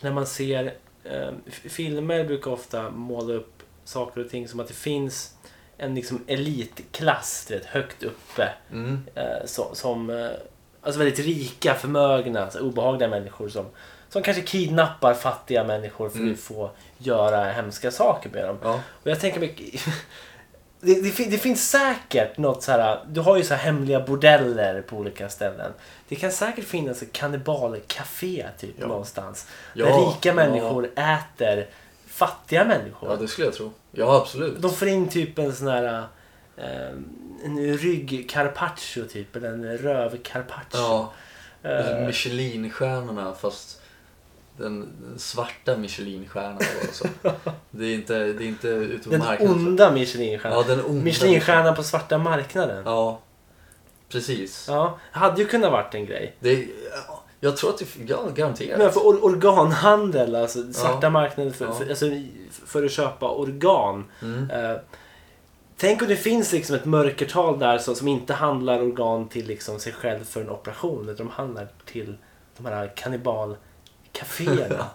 när man ser eh, f- filmer brukar ofta måla upp saker och ting som att det finns en liksom elitklass, du vet, högt uppe. mm. eh, som, som eh, alltså väldigt rika, förmögna, så här obehagliga människor som, som kanske kidnappar fattiga människor för Mm. att få göra hemska saker med dem. Ja. Och jag tänker mycket... Det, det, fin- det finns säkert något så här. Du har ju så här hemliga bordeller på olika ställen. Det kan säkert finnas ett kannibalcafé typ Ja. någonstans. Ja, där rika ja. människor äter fattiga människor. Ja, det skulle jag tro. Ja, absolut. De får in typ en sån här... eh, en ryggcarpaccio typ, eller en rövcarpaccio. Ja, Eh, Michelinstjärnorna fast den den svarta Michelinstjärnan då alltså. Det är inte, det är inte ute på Den marknaden. onda Michelinstjärnan. Ja, den onda. Michelinstjärnan på svarta marknaden. Ja. Ja, precis. hade ju kunnat varit en grej. Det är, ja, jag tror att det, ja, garanterat. Men för or- organhandel, alltså svarta Ja. marknaden för, Ja. för, alltså, i- för att köpa organ. Mm. Eh, tänk om det finns liksom ett mörkertal där som, som inte handlar organ till liksom sig själv för en operation. Utan de handlar till de här *laughs* kannibalkaféerna.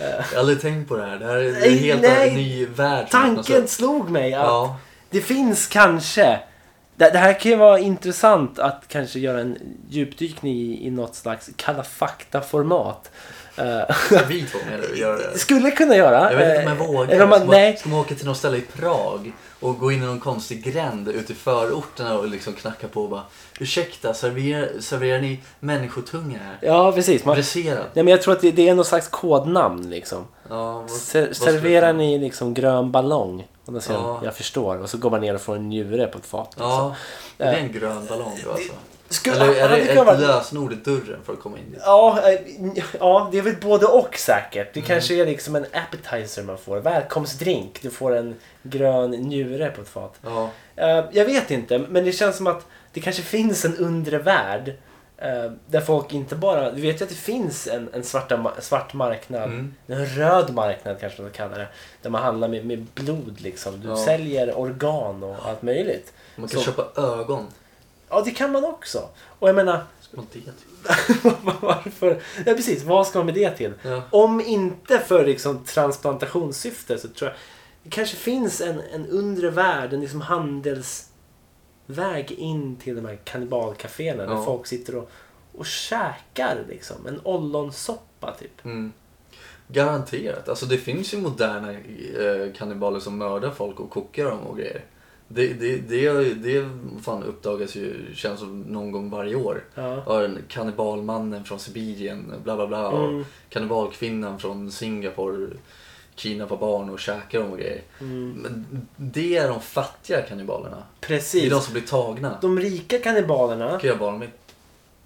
Jag har aldrig tänkt på det här. Det här är Nej, en helt nej. ny värld. som öppnas Tanken upp. slog mig att Alltså. Ja, det finns kanske. Det, det här kan ju vara intressant att kanske göra en djupdykning i, i något slags kalla fakta-format. Eh, *laughs* vi två menar du gör det. Det skulle jag kunna göra. Jag vet inte om Eh, jag vågar. liksom Eller om man, ska, man, nej, ska man åka till något ställe i Prag och gå in i någon konstig gränd ute i förorterna och liksom knacka på och bara Ursäkta, serverar, serverar ni människotunga här? ja precis. Man, Dresserad? nej, men jag tror att det, det är någon slags kodnamn liksom. Ja, vad- Ser, vad skulle serverar jag- ni liksom grön ballong? Och då säger Ja. de, jag förstår. Och så går man ner och får en njure på ett fat. liksom. Ja, det är en grön ballong då alltså. Skulle, Eller är hade det kunnat ett vara- lösenord i dörren för att komma in dit? Ja, eh, ja, det är väl både och säkert. Mm. Det kanske är liksom en appetizer man får. Välkomstdrink. Du får en grön njure på ett fat. Ja, Eh, jag vet inte, men det känns som att det kanske finns en undre värld. eh, där folk inte bara... Du vet ju att det finns en, en svarta, ma- svart marknad. Mm. En röd marknad kanske man ska kalla det. Där man handlar med, med blod liksom. Du Ja. säljer organ och allt möjligt. man kan Så- köpa ögon. Ja, det kan man också. Och jag menar, *laughs* Ska man det till? varför? Ja, precis. Vad ska man med det till? Ja. Om inte för liksom, transplantationssyfte så tror jag det kanske finns en, en undre värld, en liksom handelsväg in till de här kannibalcaféerna där Ja. folk sitter och, och käkar liksom. En ollonsoppa typ. Mm. Garanterat. Alltså det finns ju moderna eh, kannibaler som mördar folk och kokar dem och grejer. Det, det, det, har ju- det fan uppdagas ju, känns som någon gång varje år. Ja. Ja, den kannibalmannen från Sibirien, bla bla bla. Mm. Och kannibalkvinnan från Singapore kidnappar barn och käkar dem och grejer. Mm. Men det är de fattiga kannibalerna. Det är Precis. de som blir tagna. De rika kannibalerna, Kan jag bara mitt?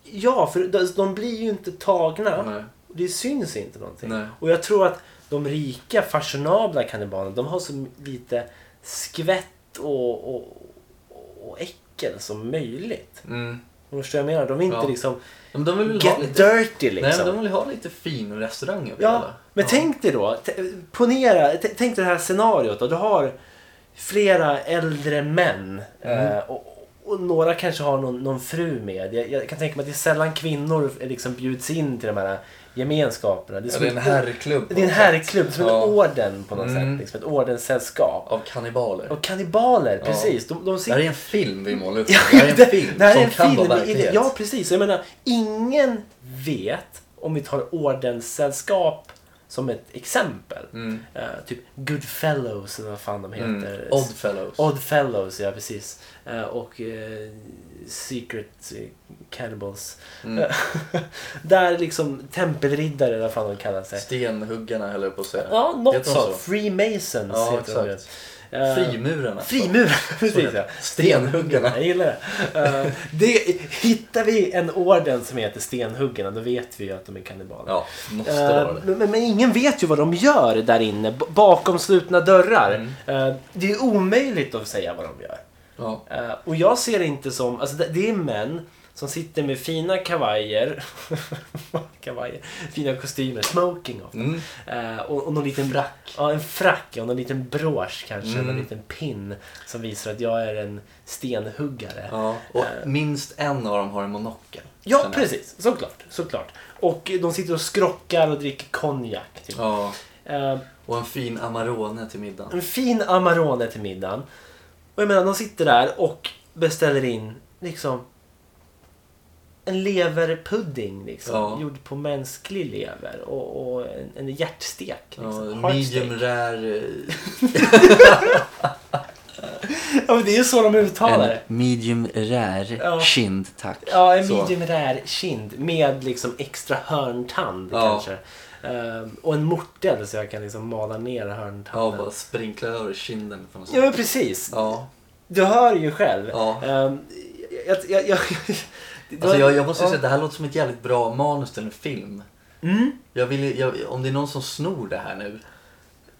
ja för de, de blir ju inte tagna. Nej. Och Det syns inte någonting. Nej. Och jag tror att de rika, fashionabla kannibalerna, de har så lite skvätt och, och, och äckel som möjligt. Mm. Om du förstår vad jag menar? De är inte Ja. liksom Men de vill väl ha get lite... dirty liksom. Nej, men de vill ha lite fin restaurang över Ja, hela. men tänk dig då. t- Ponera, t- tänk dig det här scenariot då. Du har flera äldre män. Mm. eh, Och, och några kanske har någon, någon fru med. Jag, jag kan tänka mig att det är sällan kvinnor eh, liksom bjuds in till de här gemenskaperna. Det är, Ja, som det är en ett- herrklubb. Det är en herrklubb, som Ja. en orden på något Mm. sätt. Liksom, ett ordenssällskap. Av kannibaler. Och kannibaler, Ja. precis. De, de Det här sitter... är en film vi målar upp. Det här är en film det här är som en kan vara i- verklighet. Ja, precis. Jag menar, ingen vet, om vi tar ordenssällskap som ett exempel. Mm. Eh, typ Goodfellows eller vad fan de Mm. heter. Oddfellows. Oddfellows, ja precis. Eh, och eh, Secret eh, Cannibals. Mm. *laughs* Där liksom tempelriddare, eller vad fan de kallar sig. Stenhuggarna höll jag på att säga. Ja, Heter något de sånt. Freemasons Ja, heter exakt. de. Eh, Frimurarna. Frimurarna, *laughs* precis ja. Stenhuggarna. Jag gillar det. Eh, det. Hittar vi en orden som heter Stenhuggarna då vet vi ju att de är kannibaler. Ja, måste Eh, vara det. men, men, men ingen vet ju vad de gör där inne b- bakom slutna dörrar. Mm. Eh, det är omöjligt att säga vad de gör. Ja. Eh, och jag ser det inte som, alltså det, det är män som sitter med fina kavajer, *laughs* kavajer fina kostymer, smoking ofta. Mm. Eh, och, och någon liten frack. Ja, en frack ja, och någon liten brosch kanske, Mm. någon liten pin som visar att jag är en stenhuggare. Ja, ja. Och Eh. minst en av dem har en monokel. Sen- precis, såklart, såklart. Och de sitter och skrockar och dricker konjak. Typ. Ja. Eh, Och en fin Amarone till middagen. en fin Amarone till middagen. Och jag menar, de sitter där och beställer in liksom en leverpudding liksom, Ja. gjord på mänsklig lever och, och en, en hjärtstek. Liksom, Ja, heart steak. medium rare. eh, *laughs* Ja, men det är ju så de uttalar det. medium rare Ja. kind, tack. Ja, en Så. medium rare kind med liksom extra hörntand Ja. kanske. Ehm, och en mortel så jag kan liksom mala ner Ja, hörntanden. bara sprinkla över kinden på något Ja, sätt. men precis. Ja. Du hör ju själv. Ja. Ehm, jag, *laughs* jag, jag, Alltså jag, jag måste ju Ja. säga att det här låter som ett jävligt bra manus till en film. Mm. Jag vill, ju- jag, om det är någon som snor det här nu.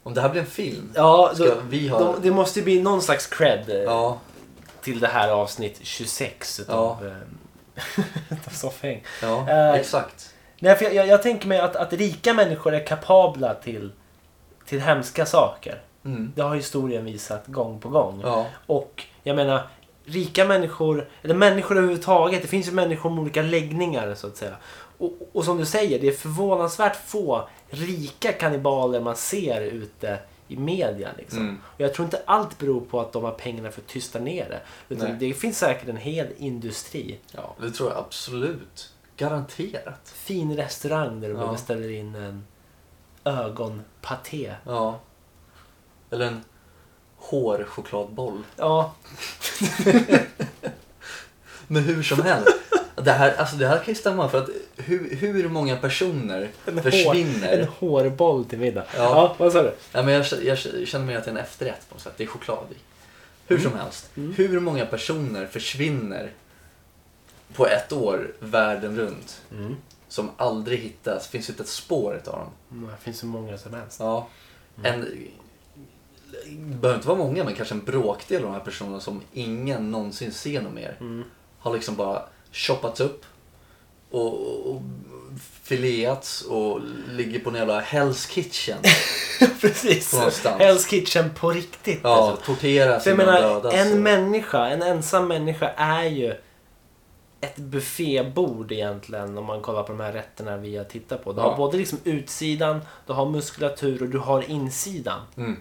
Om det här blir en film. Ja, Ska då, vi ha... de, det måste ju bli någon slags cred eh, Ja, till det här avsnitt 26 utav, eh, *laughs* utav Soffhäng. ja Eh, exakt. Nej, för jag, jag, jag tänker mig att, att rika människor är kapabla till, till hemska saker. Mm. Det har historien visat gång på gång. Ja, Och jag menar, rika människor, eller människor överhuvudtaget, det finns ju människor med olika läggningar så att säga. Och, och som du säger, det är förvånansvärt få rika kannibaler man ser ute i media. Liksom. Mm. Och jag tror inte allt beror på att de har pengarna för att tysta ner det. Utan Nej. det finns säkert en hel industri. ja, det tror jag absolut. Garanterat. Fin restaurang där du Ja. bara beställer in en ögonpaté. Ja. Eller en hårchokladboll. Ja, Men hur som *laughs* helst. Det här, alltså det här kan ju stämma för att hur, hur många personer en, försvinner? Hår, en hårboll till middag. Ja. Ja, vad sa du? Ja, men jag, k- jag k- känner mig att det är en efterrätt på något sätt. Det är choklad i. Hur som helst. Hur många personer försvinner på ett år världen runt Mm. som aldrig hittas? Finns inte ett spår utav dem. Mm, Det finns hur många som helst. Ja. En, det behöver inte vara många, men kanske en bråkdel av de här personerna som ingen någonsin ser något mer. Har liksom bara choppats upp och, och fileats och ligger på en jävla Hell's Kitchen. *laughs* Precis. Någonstans. Hell's Kitchen på riktigt. Ja, alltså. torteras För jag innan menar, dödas. en och- människa, en ensam människa är ju ett buffébord egentligen om man kollar på de här rätterna vi har tittat på. Du Ja. har både liksom utsidan, du har muskulatur och du har insidan. Mm.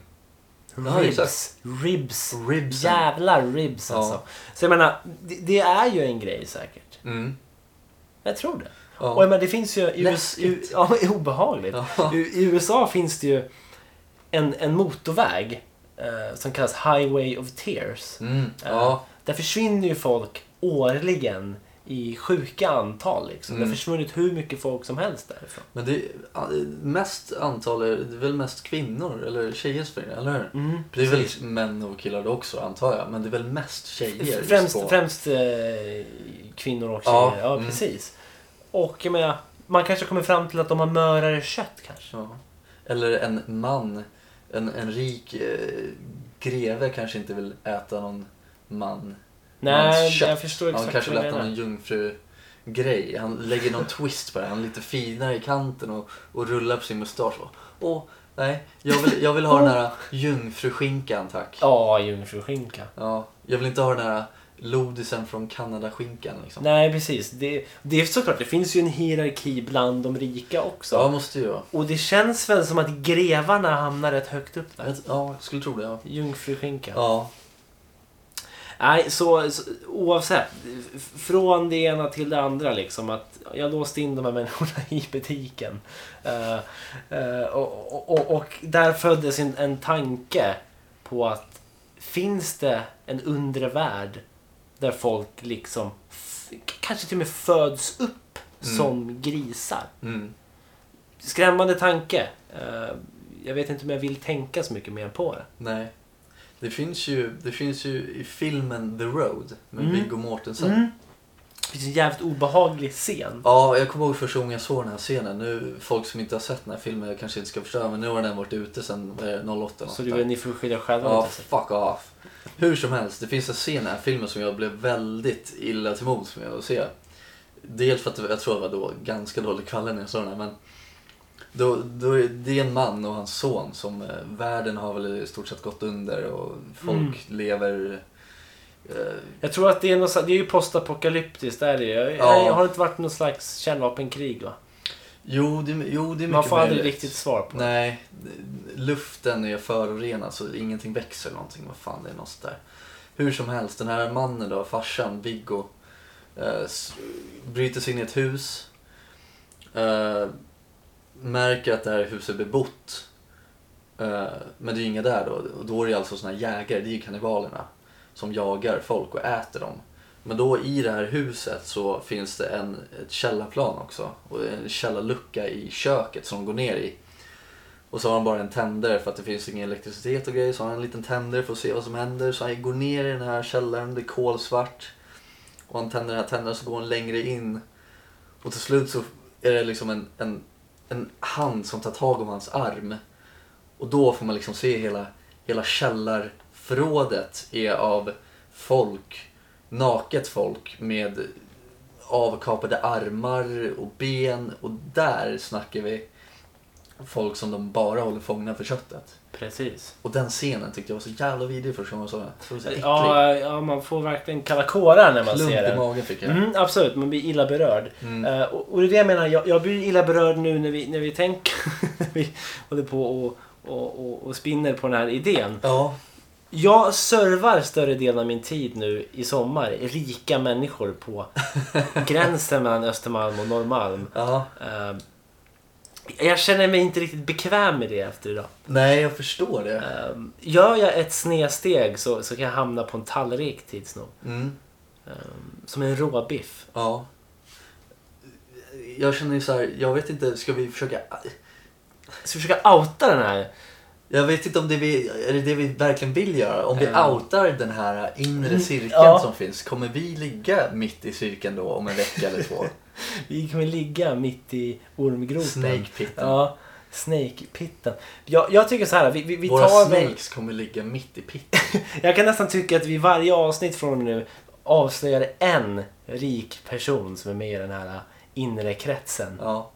Ja, Ribs, ribs, Ribsen. jävla ribs Ja. alltså. Så jag menar, det, det är ju en grej säkert. Mm. Jag tror det. Ja. Och jag menar, det finns ju... i US- Läskigt. Ja, *laughs* obehagligt. Ja. I, I USA finns det ju en, en motorväg eh, som kallas Highway of Tears. Mm. Eh, Ja. Där försvinner ju folk årligen i sjuka antal. Liksom. Det Mm. har försvunnit hur mycket folk som helst därifrån. Men det är ja, mest antal, är, det är väl mest kvinnor eller tjejer som springer, eller hur? Mm, det är väl män och killar också antar jag, men det är väl mest tjejer? Främst, på- främst eh, kvinnor och Ja, tjejer. Ja, mm. precis. Och jag menar, man kanske kommer fram till att de har mörare kött kanske. Ja. Eller en man, en, en rik eh, greve kanske inte vill äta någon man. Nej, mans kött. jag förstår exakt Han kanske vad vill du äta menar. någon jungfru-grej. Han lägger någon twist på det, han är lite finare i kanten och, och rullar på sin mustasch. Och, Åh, nej, jag vill, jag vill ha den här jungfruskinkan tack. Ja, jungfruskinka. Ja, jag vill inte ha den här lodisen från Kanadaskinkan liksom. Nej, precis. Det, det är såklart, det finns ju en hierarki bland de rika också. Ja, måste ju jag. Och det känns väl som att grevarna hamnar rätt högt upp där. vet- Ja, jag skulle tro det. Ja. Jungfruskinka. ja. Nej, så, så oavsett. f- Från det ena till det andra liksom. Att jag låste in de här människorna *laughs* i butiken. Eh, eh, och, och, och, och där föddes en, en tanke på att finns det en undre värld där folk liksom f- kanske till och med föds upp Mm. som grisar? Mm. Skrämmande tanke. Eh, jag vet inte om jag vill tänka så mycket mer på det. Nej. Det finns, ju, det finns ju i filmen The Road med Mm. Viggo Mortensen. Det finns en jävligt obehaglig scen. Ja, jag kommer ihåg första gången jag såg den här scenen. Nu, folk som inte har sett den här filmen jag kanske inte ska förstå, men nu har den varit ute sedan eh, 08. Så du, ni får skylla er själva. Ja, lite. fuck off. Hur som helst, det finns en scen i den här filmen som jag blev väldigt illa till mods med att se. Dels för att det var- jag tror det var då ganska dålig kvalitet när jag såg den här, men då, då är det är en man och hans son som eh, världen har väl i stort sett gått under och folk Mm. lever... Eh, Jag tror att det är, något, så- det är ju postapokalyptiskt. Där är det. Jag, Ja. jag har inte varit någon slags kärnvapenkrig va? jo, det, jo, det är mycket Man får aldrig möjligt. riktigt svar på det. Nej, luften är förorenad så ingenting växer eller någonting. Vad fan, det är något sånt där. Hur som helst, den här mannen då, farsan, Viggo, eh, s- bryter sig in i ett hus. Eh, märker att det här huset är bebott. Eh, men det är ju inga där då. Och då är det alltså såna här jägare, det är ju kannibalerna. Som jagar folk och äter dem. Men då i det här huset så finns det en, ett källarplan också. Och en källarlucka i köket som de går ner i. Och så har han bara en tändare för att det finns ingen elektricitet och grejer. Så har han en liten tändare för att se vad som händer. Så han går ner i den här källaren, det är kolsvart. Och han tänder den här tändaren så går han längre in. Och till slut så är det liksom en, en en hand som tar tag om hans arm. Och då får man liksom se hela, hela källarförrådet är av folk, naket folk med avkapade armar och ben och där snackar vi folk som de bara håller fångna för köttet. Precis. Och den scenen tyckte jag var så jävla vidrig första gången jag såg den. Så det var så äcklig. Ja, ja, man får verkligen kalla kårar när man Klump ser i den. magen fick jag. Mm, absolut, man blir illa berörd. Mm. Eh, och, och det är det jag menar, jag, jag blir illa berörd nu när vi, när vi tänker, *laughs* när vi håller på och, och, och, och spinner på den här idén. Ja, Jag servar större delen av min tid nu i sommar rika människor *laughs* på gränsen mellan Östermalm och Norrmalm. ja. Eh, jag känner mig inte riktigt bekväm med det efter idag. Nej, jag förstår det. Eh, gör jag ett snedsteg så, så kan jag hamna på en tallrik tids nog. Mm. Som en råbiff. Ja. Jag känner ju så här, jag vet inte, ska vi försöka... Ska vi försöka outa den här? Jag vet inte om det vi, är det, det vi verkligen vill göra. Om vi Ja. Mm, outar den här inre cirkeln ja. som finns, kommer vi ligga mitt i cirkeln då om en vecka eller två? Vi kommer ligga mitt i ormgropen. Snake pitten. Ja, snakepitten. Jag, jag tycker så här, *laughs* vi, vi, vi Våra tar väl... snakes kommer ligga mitt i pitten. Jag kan nästan tycka att vi i varje avsnitt från och med nu avslöjar en rik person som är med i den här inre kretsen Ja,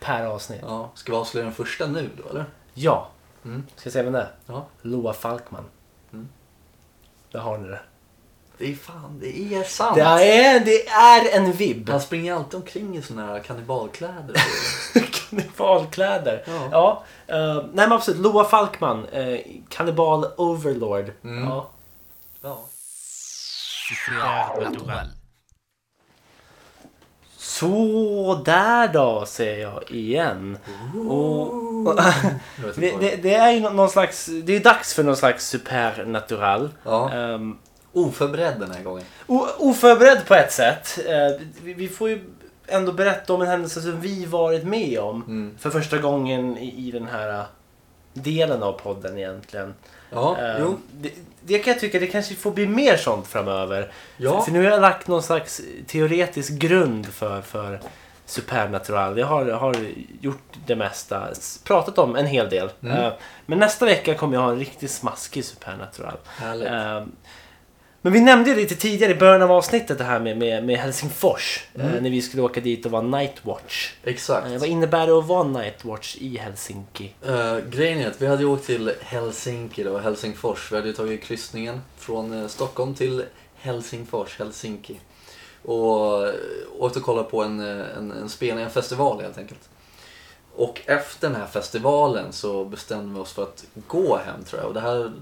per avsnitt. ja. Ska vi avslöja den första nu då eller? Ja. Mm. Ska jag säga vem det är? Ja. Loa Falkman. Mm. Där har ni det. Det är fan, det är sant. Det är, det är en vibb. *laughs* Han springer alltid omkring i såna här kannibalkläder. Kannibalkläder. Ja. Ja. eh, nej men absolut, Loa Falkman. Uh, kannibal Overlord. Mm. Ja. ja. Så där då, säger jag igen. Mm. Och, Jag vet inte Det, vad det, det är ju nå- någon slags, det är dags för någon slags supernatural. Ja. Ehm, Oförberedd den här gången. o, oförberedd på ett sätt. Eh, vi, vi får ju ändå berätta om en händelse som vi varit med om. Mm. För första gången i, i den här eh, delen av podden egentligen. Ja, Ehm, jo. Det, det kan jag tycka, det kanske får bli mer sånt framöver. Ja. För, för nu har jag lagt någon slags teoretisk grund för, för supernatural. Jag har, har gjort det mesta, s- pratat om en hel del. Mm. Eh, Men nästa vecka kommer jag ha en riktigt smaskig supernatural. Härligt. Eh, Men vi nämnde ju lite tidigare i början av avsnittet det här med, med, med Helsingfors. eh, När vi skulle åka dit och vara nightwatch. Exakt. Eh, Vad innebär det att vara nightwatch i Helsinki? Eh, grejen är att vi hade ju åkt till Helsinki då, Helsingfors. Vi hade ju tagit kryssningen från eh, Stockholm till Helsingfors, Helsinki. Och eh, åkt och kollat på en, eh, en, en spelning, en festival helt enkelt. Och efter den här festivalen så bestämde vi oss för att gå hem tror jag. Och det här,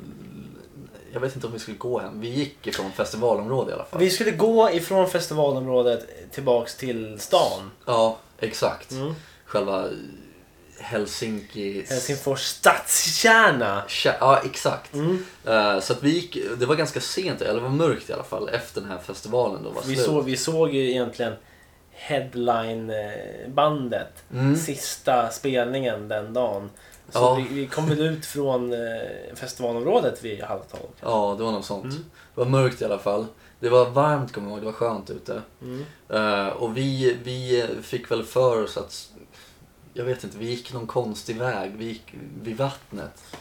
jag vet inte om vi skulle gå hem. Vi gick ifrån festivalområdet i alla fall. Vi skulle gå ifrån festivalområdet tillbaks till stan. Ja, exakt. Mm. Själva Helsinki... Helsingfors stadskärna. Tja- Ja, exakt. Mm. Eh, så att vi gick, det var ganska sent, eller det var mörkt i alla fall, efter den här festivalen då var Vi, slut. såg, vi såg ju egentligen headline-bandet. Mm. Sista spelningen den dagen. Så Ja. vi, vi kom väl ut från eh, festivalområdet vid halv tolv. Ja, det var något sånt. Mm. Det var mörkt i alla fall. Det var varmt kommer jag ihåg, det var skönt ute. Mm. Eh, och vi, vi fick väl för oss att, jag vet inte, vi gick någon konstig väg. Vi gick vid vattnet.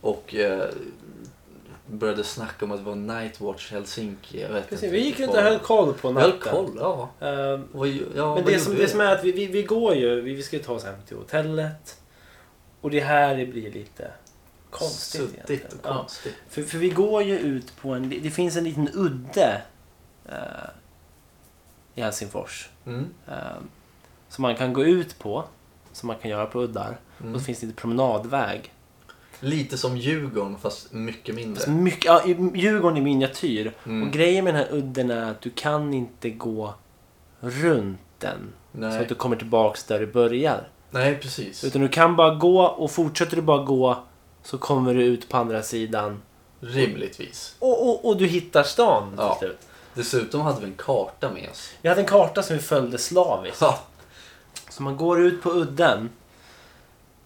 Och eh, började snacka om att det var Nightwatch Helsinki. Jag vet Precis, inte vi gick riktigt runt och vad- höll koll på Vi höll natten. koll, ja. Eh, Och, ja Men vad det som, gjorde det vi? som är att vi, vi, vi går ju, vi, vi ska ju ta oss hem till hotellet. Och det här det blir lite konstigt Suddigt egentligen. och Ja. konstigt. För, för vi går ju ut på en, det det finns en liten udde eh, i Helsingfors. Mm. eh, som man kan gå ut på, som man kan göra på uddar. Mm. Och så finns det lite promenadväg. Lite som Djurgården fast mycket mindre. Fast mycket, ja, i- Djurgården i miniatyr. Mm. Och grejen med den här udden är att du kan inte gå runt den. Så Nej. att du kommer tillbaks där du börjar. Nej, precis. Utan du kan bara gå och fortsätter du bara gå så kommer du ut på andra sidan. Rimligtvis. Och, och, och du hittar stan till Ja. slut. Dessutom hade vi en karta med oss. Jag hade en karta som vi följde slaviskt. Ja. Så man går ut på udden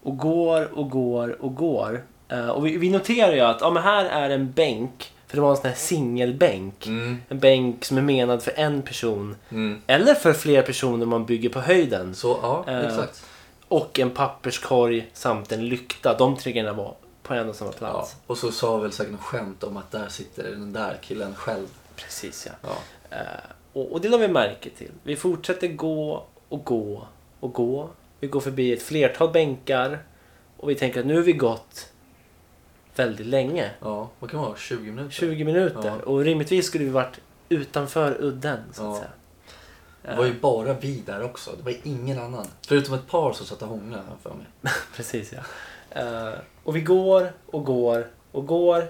och går och går och går. Eh, och vi, vi noterar ju att ja, men här är en bänk, för det var en sån här singelbänk. Mm. En bänk som är menad för en person, Mm. eller för flera personer man bygger på höjden. Så, ja, Eh. exakt. och en papperskorg samt en lykta. De tre grejerna var på en och samma Ja. plats. Och så sa väl säkert något skämt om att där sitter den där killen själv. Precis ja. Ja. Eh, Och, och det la vi märke till. Vi fortsätter gå och gå och gå. Vi går förbi ett flertal bänkar och vi tänker att nu har vi gått väldigt länge. ja. Vad kan det vara? 20 minuter? 20 minuter Ja. och rimligtvis skulle vi varit utanför udden så att Ja. säga. Det var ju bara vi där också. Det var ju ingen annan. Förutom ett par som satt och hånglade här för mig. Precis ja. Eh, och vi går och går och går.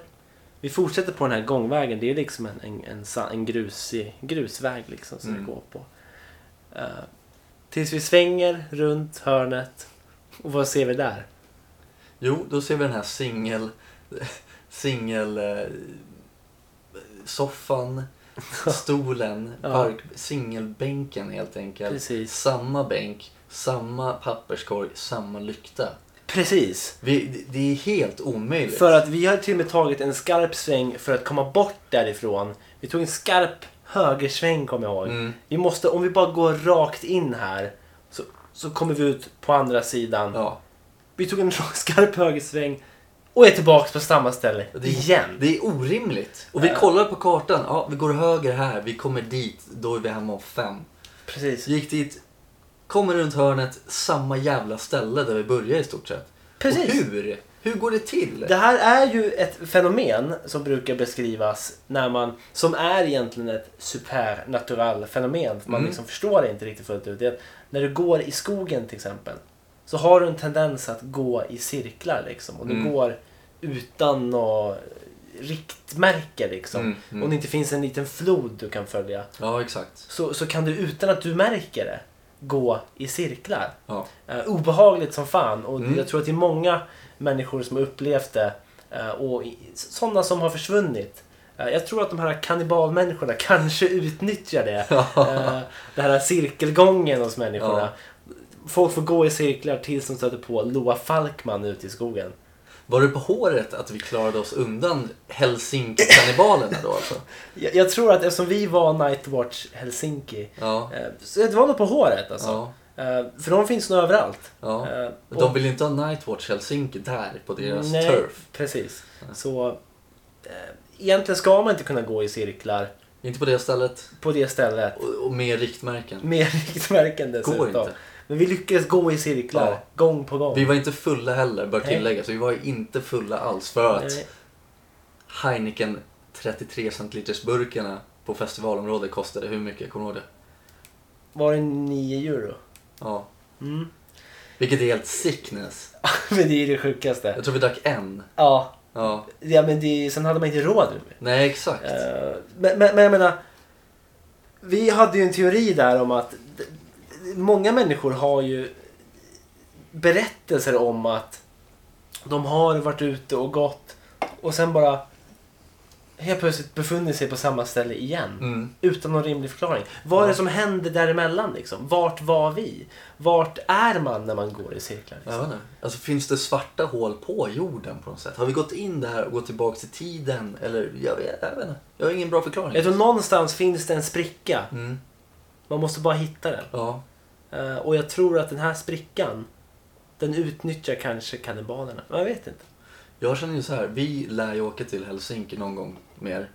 Vi fortsätter på den här gångvägen. Det är liksom en, en, en, sa- en grusig, grusväg liksom som Mm. vi går på. Eh, tills vi svänger runt hörnet. Och vad ser vi där? Jo, då ser vi den här singel... Singel... Eh, soffan, stolen, Ja. park, singelbänken helt enkelt. Precis. Samma bänk, samma papperskorg, samma lykta. Precis! Vi, det- det är helt omöjligt. För att vi har till och med tagit en skarp sväng för att komma bort därifrån. Vi tog en skarp högersväng kommer jag ihåg. Mm. Vi måste, om vi bara går rakt in här så, så kommer vi ut på andra sidan. Ja. Vi tog en *laughs* skarp högersväng och är tillbaka på samma ställe Det är, igen. det är orimligt. Och vi Ja. kollar på kartan. Ja, vi går höger här, vi kommer dit, då är vi hemma om fem. Precis. Gick dit, kommer runt hörnet, samma jävla ställe där vi började i stort sett. Precis. Och hur? Hur går det till? Det här är ju ett fenomen som brukar beskrivas när man, som är egentligen ett supernatural fenomen. För man Mm. liksom förstår det inte riktigt fullt ut. Det är att när du går i skogen till exempel. Så har du en tendens att gå i cirklar liksom. Och du Mm. går utan något riktmärke liksom. Mm, mm. Om det inte finns en liten flod du kan följa. Ja, exakt. så, så kan du utan att du märker det gå i cirklar. Ja. Eh, obehagligt som fan och Mm. jag tror att det är många människor som har upplevt det eh, och i- sådana som har försvunnit. Eh, jag tror att de här kannibalmänniskorna *laughs* kanske *laughs* utnyttjar det. eh, den här cirkelgången hos människorna. Folk får gå i cirklar tills de stöter på Loa Falkman ute i skogen. Var det på håret att vi klarade oss undan Helsinki-kannibalerna då alltså? Jag, jag tror att eftersom vi var Nightwatch Helsinki Ja. eh, så det var nog på håret alltså. Ja. Eh, för de finns nog överallt. ja. Eh, och- De vill ju inte ha Nightwatch Helsinki där på deras Nej, turf. precis. Så eh, egentligen ska man inte kunna gå i cirklar Inte på det stället på det stället och, och med riktmärken. med *laughs* riktmärken dessutom. inte. Men vi lyckades gå i cirklar Ja. gång på gång. Vi var inte fulla heller, bör Nej. tilläggas. Vi var ju inte fulla alls för att Nej, Heineken 33 centiliters burkarna på festivalområdet kostade hur mycket? Kommer du ihåg det? Var det 9 euro? Ja. Mm. Vilket är helt sickness. *laughs* men det är det sjukaste. Jag tror vi drack en. Ja, Ja. ja men det, sen hade man inte råd. Nej, exakt. Eh, men, men, men jag menar, vi hade ju en teori där om att d- d- många människor har ju berättelser om att de har varit ute och gått och sen bara helt plötsligt befunnit sig på samma ställe igen. Mm. Utan någon rimlig förklaring. Vad är det som hände däremellan liksom? Vart var vi? Vart är man när man går i cirklar? Jag Liksom? vet inte. Alltså finns det svarta hål på jorden på något sätt? Har vi gått in där och gått tillbaka till tiden? Eller jag vet, jag vet inte. Jag har ingen bra förklaring. Jag tror någonstans finns det en spricka. Mm. Man måste bara hitta den. Ja. Eh, Och jag tror att den här sprickan, den utnyttjar kanske kannibalerna. Jag vet inte. Jag känner ju så här, vi lär ju åka till Helsinki någon gång mer.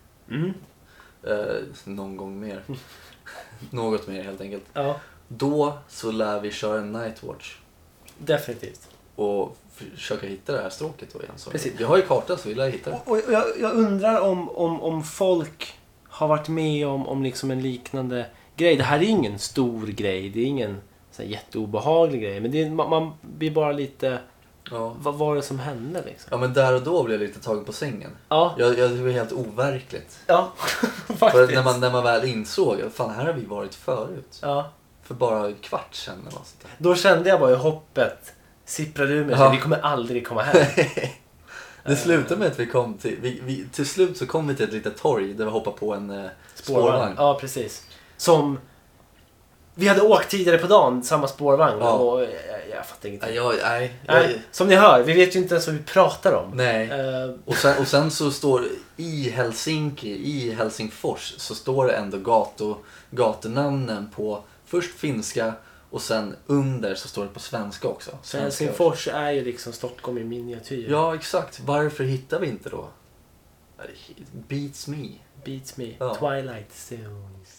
Eh, någon gång *laughs* mer. Något mer helt enkelt. Ja, Då så lär vi köra en nightwatch definitivt. och försöka hitta det här stråket då igen. Så Precis. Vi har ju kartan så vi lär hitta det. Och, och jag, jag undrar om, om, om folk har varit med om, om liksom en liknande grej. Det här är ju ingen stor grej. Det är ingen så här jätteobehaglig grej. Men det är, man, man blir bara lite... Ja. Vad var det som hände liksom? ja men där och då blev jag lite tagen på sängen. Ja, Jag, jag, det var helt overkligt. ja. *laughs* För faktiskt. när, man, när man väl insåg, fan här har vi varit förut. ja. För bara en kvart sedan eller något sånt där. Då kände jag bara hur hoppet sipprade ur mig. Ja. Ja. Vi kommer aldrig komma hem. *laughs* Det slutade med att vi kom till, vi, vi, till slut så kom vi till ett litet torg där vi hoppade på en eh, spårvagn. Ja, precis. Som... Vi hade åkt tidigare på dagen, samma spårvagn. Ja. Och eh, jag, jag fattar ingenting. Nej, jag, nej, Nej, jag, som ni hör, vi vet ju inte ens vad vi pratar om. nej. Eh, Och sen, och sen så står i Helsinki, i Helsingfors, så står det ändå gato, gatunamnen på först finska Och sen under så står det på svenska också. Så Svenska Helsingfors är ju liksom Stockholm i miniatyr. Ja, exakt. Varför hittar vi inte då? It beats me. Beats me. Ja. Twilight Zones.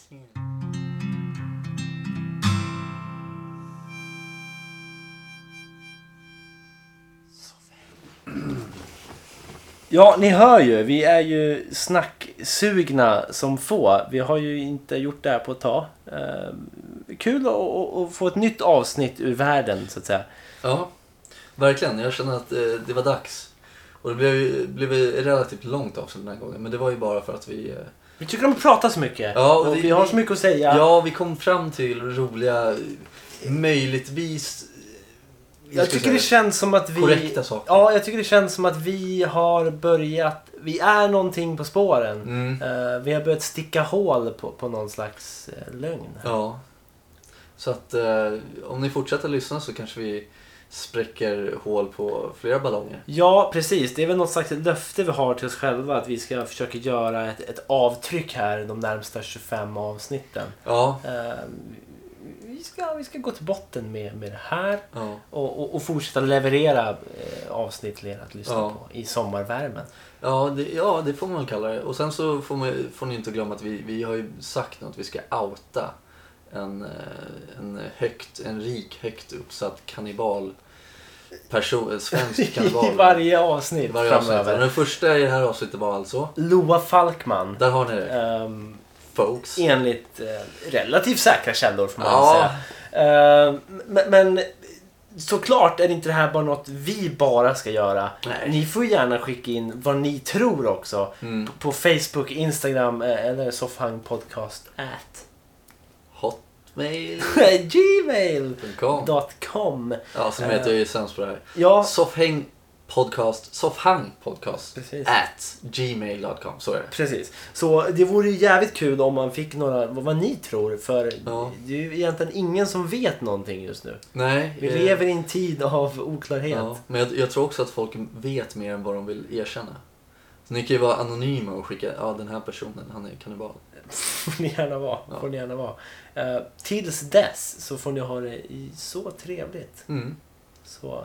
Ja, ni hör ju. Vi är ju snacksugna som få. Vi har ju inte gjort det här på ett tag. Eh, kul att- att att få ett nytt avsnitt ur världen, så att säga. Ja, verkligen. Jag känner att eh, det var dags. Och det blev, ju- blev ett relativt långt avsnitt den här gången. Men det var ju bara för att vi... Eh, Vi tycker om att prata så mycket. Ja, och och det- vi har så mycket att säga. ja. vi kom fram till roliga, eh, möjligtvis... eh, Jag ska tycker det säga, känns som att vi... Korrekta saker. Ja, jag tycker det känns som att vi har börjat... Vi är någonting på spåren. Mm. Eh, vi har börjat sticka hål på, på någon slags eh, lögn. Ja. Så att eh, om ni fortsätter lyssna så kanske vi spräcker hål på flera ballonger. Ja, precis. Det är väl något slags löfte vi har till oss själva att vi ska försöka göra ett, ett avtryck här de närmsta 25 avsnitten. Ja. Eh, vi, ska, vi ska gå till botten med, med det här ja. och, och, och fortsätta leverera eh, avsnitt till er att lyssna Ja. på i sommarvärmen. Ja det, ja, det får man väl kalla det. Och sen så får, man, får ni inte glömma att vi, vi har ju sagt nu att vi ska outa en, eh, en, högt, en rik, högt uppsatt kannibal. Person, en *laughs* svensk kannibal. I varje avsnitt Varje avsnitt. framöver. Men Den första i det här avsnittet var alltså, Loa Falkman. där har ni det ehm, folks. enligt eh, relativt säkra källor får man väl Ja. säga. Ehm, men, men såklart är det inte det här bara något vi bara ska göra. Nej. Ni får gärna skicka in vad ni tror också. Mm. På Facebook, Instagram eh, eller soffhangpodcast at Hotmail.com. gmail .com. Ja, sen vet jag ju sämst på det här. Ja, Soffhäng podcast, soffhang podcast Precis. at gmail.com. Så är det. Precis. Så det vore ju jävligt kul om man fick några, vad, vad ni tror. För Ja. det är ju egentligen ingen som vet någonting just nu. Nej. Vi eh, lever i en tid av oklarhet. Ja, men jag, jag tror också att folk vet mer än vad de vill erkänna. Så ni kan ju vara anonyma och skicka, ja den här personen, han är kannibal. *laughs* Får ni gärna vara. Ja. Får ni gärna vara. Eh, tills dess så får ni ha det i så trevligt. Mm. Så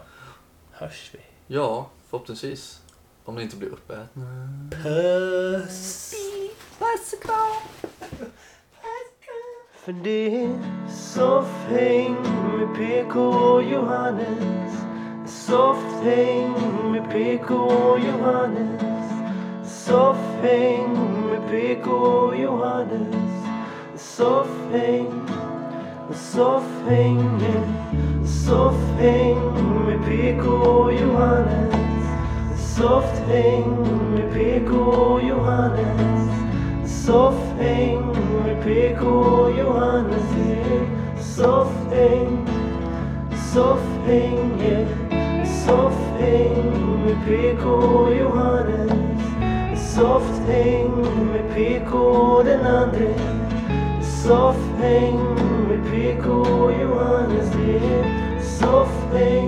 hörs vi. Ja, förhoppningsvis. Om ni inte blir uppätna. Puss! För det är soffhäng med PK och Johannes Soffhäng med PK och Johannes Soffhäng med PK och Johannes Soffhäng Soffhäng Soffhäng med PK och Johannes Soffhäng med PK och Johannes Soffhäng med PK och Johannes yeah. Soffhäng Soffhäng yeah. Soffhäng med PK och Johannes Soffhäng med PK och den andre Soffhäng med PK och Johannes yeah. Soffhäng